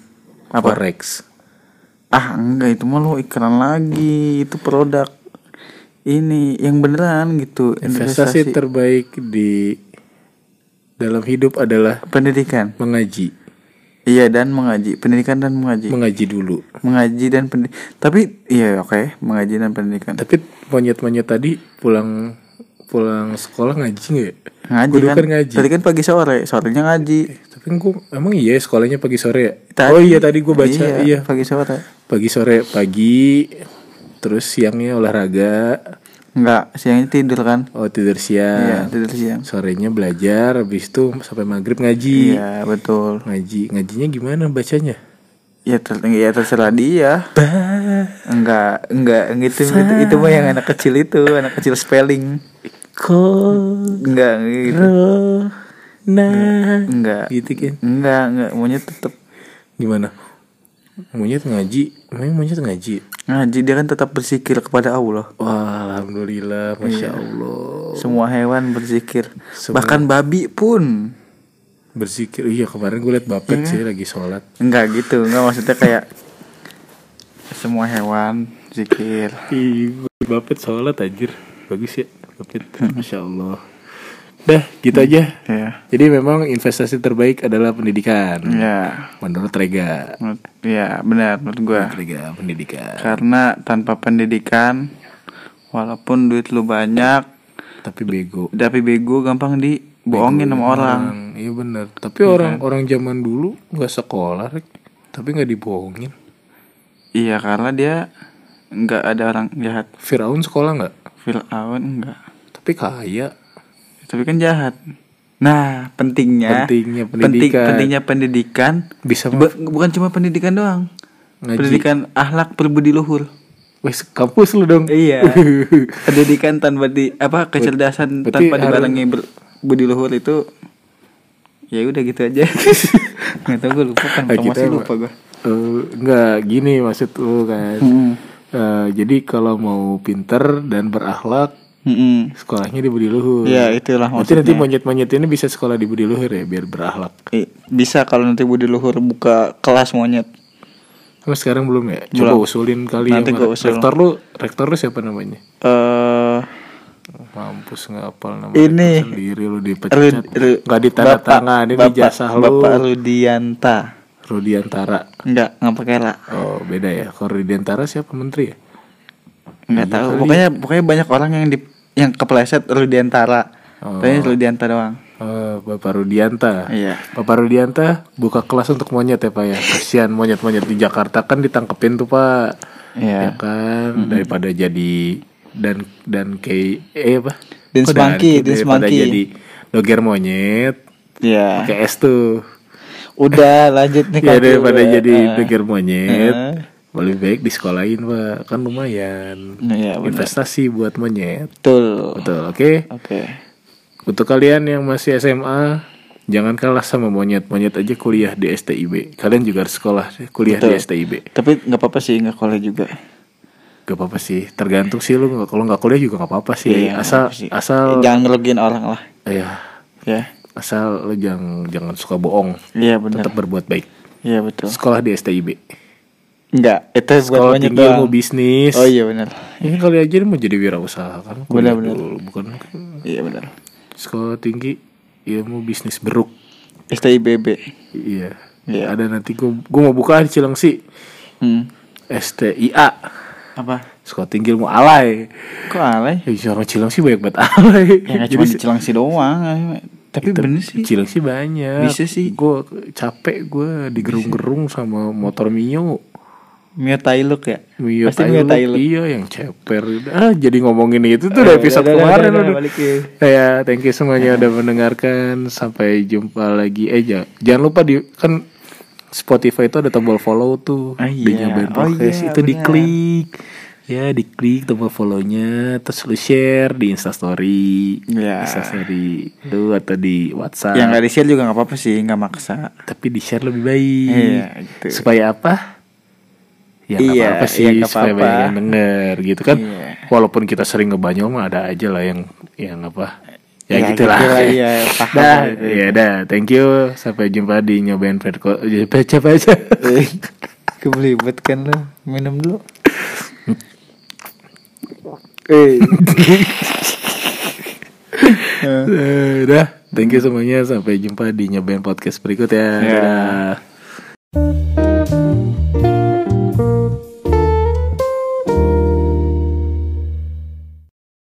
S2: Apa?
S1: Forex.
S2: Ah enggak itu mah lo iklan lagi Itu produk Ini Yang beneran gitu
S1: Investasi terbaik di dalam hidup adalah
S2: Pendidikan
S1: mengaji.
S2: Iya dan mengaji Pendidikan dan mengaji
S1: Mengaji dulu.
S2: mengaji dan pendidikan tapi iya oke mengaji dan pendidikan
S1: Tapi monyet-monyet tadi pulang pulang sekolah ngaji nggak?
S2: ngaji
S1: Kudu
S2: kan,
S1: kan ngaji.
S2: tadi kan pagi sore sorenya ngaji
S1: Tapi gue emang iya sekolahnya pagi sore ya?
S2: Tadi-
S1: oh iya tadi gue baca
S2: iya,
S1: iya
S2: pagi sore
S1: pagi sore pagi terus siangnya olahraga
S2: enggak siangnya tidur kan
S1: oh tidur
S2: iya
S1: siang
S2: tidur siang
S1: sorenya belajar habis itu sampai maghrib ngaji
S2: iya betul
S1: ngaji ngajinya gimana bacanya
S2: ya ter ya terserah dia enggak enggak gitu itu, itu mah yang anak kecil itu anak kecil spelling enggak gitu
S1: Bakorona
S2: enggak
S1: Iya. gitu kan
S2: enggak enggak maunya tetap
S1: gimana monyet ngaji emang monyet ngaji
S2: ngaji dia kan tetap berzikir kepada Allah
S1: wah alhamdulillah masya allah
S2: semua hewan berzikir
S1: Semua.
S2: bahkan babi pun
S1: berzikir iya kemarin gue liat bapet sih lagi sholat
S2: Enggak gitu, enggak maksudnya kayak semua hewan zikir.
S1: Ih, gue Iya, bapet sholat anjir bagus ya bapet masya allah dah gitu aja
S2: Ya.
S1: jadi memang investasi terbaik adalah pendidikan
S2: Ya.
S1: menurut Rega
S2: menurut- Ya, benar menurut gua.
S1: Rega pendidikan
S2: Nah. Karena tanpa pendidikan walaupun duit lu banyak
S1: tapi bego
S2: tapi bego gampang dibohongin sama orang.
S1: Orang, iya bener tapi orang orang zaman dulu nggak sekolah Rek. tapi nggak dibohongin
S2: Iya, karena dia enggak ada orang jahat.
S1: Firaun sekolah nggak
S2: Firaun enggak.
S1: tapi kaya
S2: Tapi kan jahat. Nah, pentingnya
S1: Pentingnya
S2: penting-
S1: pendidikan.
S2: pentingnya pendidikan
S1: bisa
S2: bu- bukan cuma pendidikan doang.
S1: Ngaji.
S2: Pendidikan akhlak berbudi luhur.
S1: wes kampus lu dong
S2: Iya. Pendidikan tanpa di apa kecerdasan
S1: Berarti
S2: tanpa
S1: harus-
S2: dibarengi ber- budi luhur itu ya udah gitu aja. Nggak tahu gue lupa kan
S1: Nah, kita
S2: masih
S1: emang-
S2: lupa gue.
S1: Eh, nggak gini maksud lu kan
S2: Hmm.
S1: Eh, jadi kalau mau pinter dan berakhlak
S2: Mm-mm.
S1: sekolahnya di Budi Luhur
S2: Ya itulah
S1: Nanti nanti
S2: maksudnya.
S1: monyet-monyet ini bisa sekolah di
S2: Eh,
S1: Budi Luhur ya biar berakhlak.
S2: I- Bisa kalau nanti budi luhur buka kelas monyet.
S1: Emang sekarang belum ya? Coba
S2: Belum.
S1: usulin kali ya
S2: Nanti
S1: sama
S2: gua usul.
S1: Rektor lu, rektor lu siapa namanya?
S2: eh
S1: Mampus nggak apal nama
S2: Ini.
S1: rektor sendiri lu dipecat.
S2: Ru- Ru-
S1: Nggak ditanda
S2: Bapak-
S1: tangan ini
S2: Bapak-
S1: jasa lu.
S2: Bapak Rudianta.
S1: Rudiantara.
S2: Enggak, enggak pakai lah.
S1: Oh, beda ya. Kalau Rudiantara siapa menteri ya?
S2: Enggak tahu. Pokoknya pokoknya banyak orang yang di yang kepleset Rudiantara.
S1: Oh.
S2: Tanya Rudianta doang.
S1: Eh, Bapak Rudianta.
S2: Iya.
S1: Bapak Rudianta buka kelas untuk monyet ya Pak ya. Kasihan monyet-monyet di Jakarta kan ditangkepin tuh Pak. Ya
S2: Iya.
S1: kan daripada jadi dan dan kayak eh apa?
S2: Dance
S1: Kok dan-
S2: monkey, dance
S1: daripada
S2: monkey.
S1: jadi doger monyet
S2: Iya.
S1: pakai es tuh.
S2: Udah lanjut nih
S1: Ya
S2: Kak.
S1: daripada
S2: Udah.
S1: jadi
S2: Ah.
S1: doger monyet
S2: Ah.
S1: lebih baik disekolahin Pak. Kan lumayan.
S2: Iya,
S1: gitu.
S2: benar.
S1: Investasi buat monyet.
S2: Betul.
S1: Betul, oke.
S2: Oke.
S1: Untuk kalian yang masih SMA, jangan kalah sama monyet. Monyet aja kuliah di STIB. Kalian juga harus sekolah kuliah di
S2: Betul.
S1: STIB.
S2: Tapi nggak apa-apa sih nggak koleh juga.
S1: Gak apa-apa sih. Tergantung sih lu nggak- kalau nggak kuliah juga nggak apa-apa sih.
S2: Iya,
S1: asal
S2: nggak apa-apa sih.
S1: asal
S2: jangan ngerugiin orang lah.
S1: ya
S2: Ya.
S1: asal lu jangan jangan suka bohong.
S2: Iya benar.
S1: Tetap berbuat baik.
S2: Iya betul.
S1: Sekolah di STIB.
S2: Enggak, itu
S1: Sekolah
S2: monyet
S1: tinggi
S2: doang.
S1: ilmu bisnis.
S2: Oh iya benar.
S1: Ini kali aja dia mau jadi wirausaha kan. Kuliah
S2: Benar-benar.
S1: dulu, Bukan
S2: Iya benar.
S1: sekolah tinggi ilmu bisnis beruk.
S2: STIBB.
S1: Iya.
S2: Iya.
S1: Ada nanti gua gua mau buka di Cilengsi.
S2: Hmm.
S1: STIA
S2: Apa?
S1: Sekolah Tinggi Ilmu Alay
S2: Kok alay?
S1: Eh, orang Cilengsi banyak banget alay
S2: Ya nggak cuma di Cilangsi doang. Tapi bener sih.
S1: Cilengsi banyak
S2: Bisa sih.
S1: Gue capek gue digerung-gerung sama motor Mio
S2: Mio Tailuk ya?
S1: Mio
S2: Pasti Mio
S1: Thailand.
S2: Tailuk.
S1: Iya yang ceper ah, Jadi ngomongin itu tuh udah
S2: Eh,
S1: episode
S2: udah, udah,
S1: kemarin
S2: udah,
S1: udah,
S2: udah, balik ya.
S1: Ya, thank you semuanya udah mendengarkan Sampai jumpa lagi Eh ja- jangan lupa di Kan Spotify itu ada tombol follow tuh
S2: Ah,
S1: di
S2: iya.
S1: Nyobain
S2: Oh,
S1: Podcast.
S2: iya,
S1: Itu
S2: benar.
S1: diklik Ya diklik tombol follownya Terus lu share di instastory
S2: Iya.
S1: Instastory lu Atau di whatsapp
S2: Yang nggak di-share juga nggak apa-apa sih, nggak maksa.
S1: Tapi di share lebih baik
S2: Iya, gitu.
S1: Supaya apa? Ya nggak
S2: Iya,
S1: apa-apa
S2: iya,
S1: sih
S2: nggak
S1: Supaya
S2: apa-apa.
S1: banyak yang denger gitu kan
S2: Iya.
S1: Walaupun kita sering ngebanyol mah ada aja lah yang Yang apa Ya,
S2: Ya,
S1: gitulah
S2: gitu lah, iya, paham
S1: Dah,
S2: lah itu.
S1: ya dah, thank you. Sampai jumpa di nyobain Fredco. Pecah aja.
S2: Kebelibet kan lo, minum dulu. Eh,
S1: Eh, Udah, thank you semuanya. Sampai jumpa di nyobain podcast berikut ya.
S2: Ya.
S1: Dadah.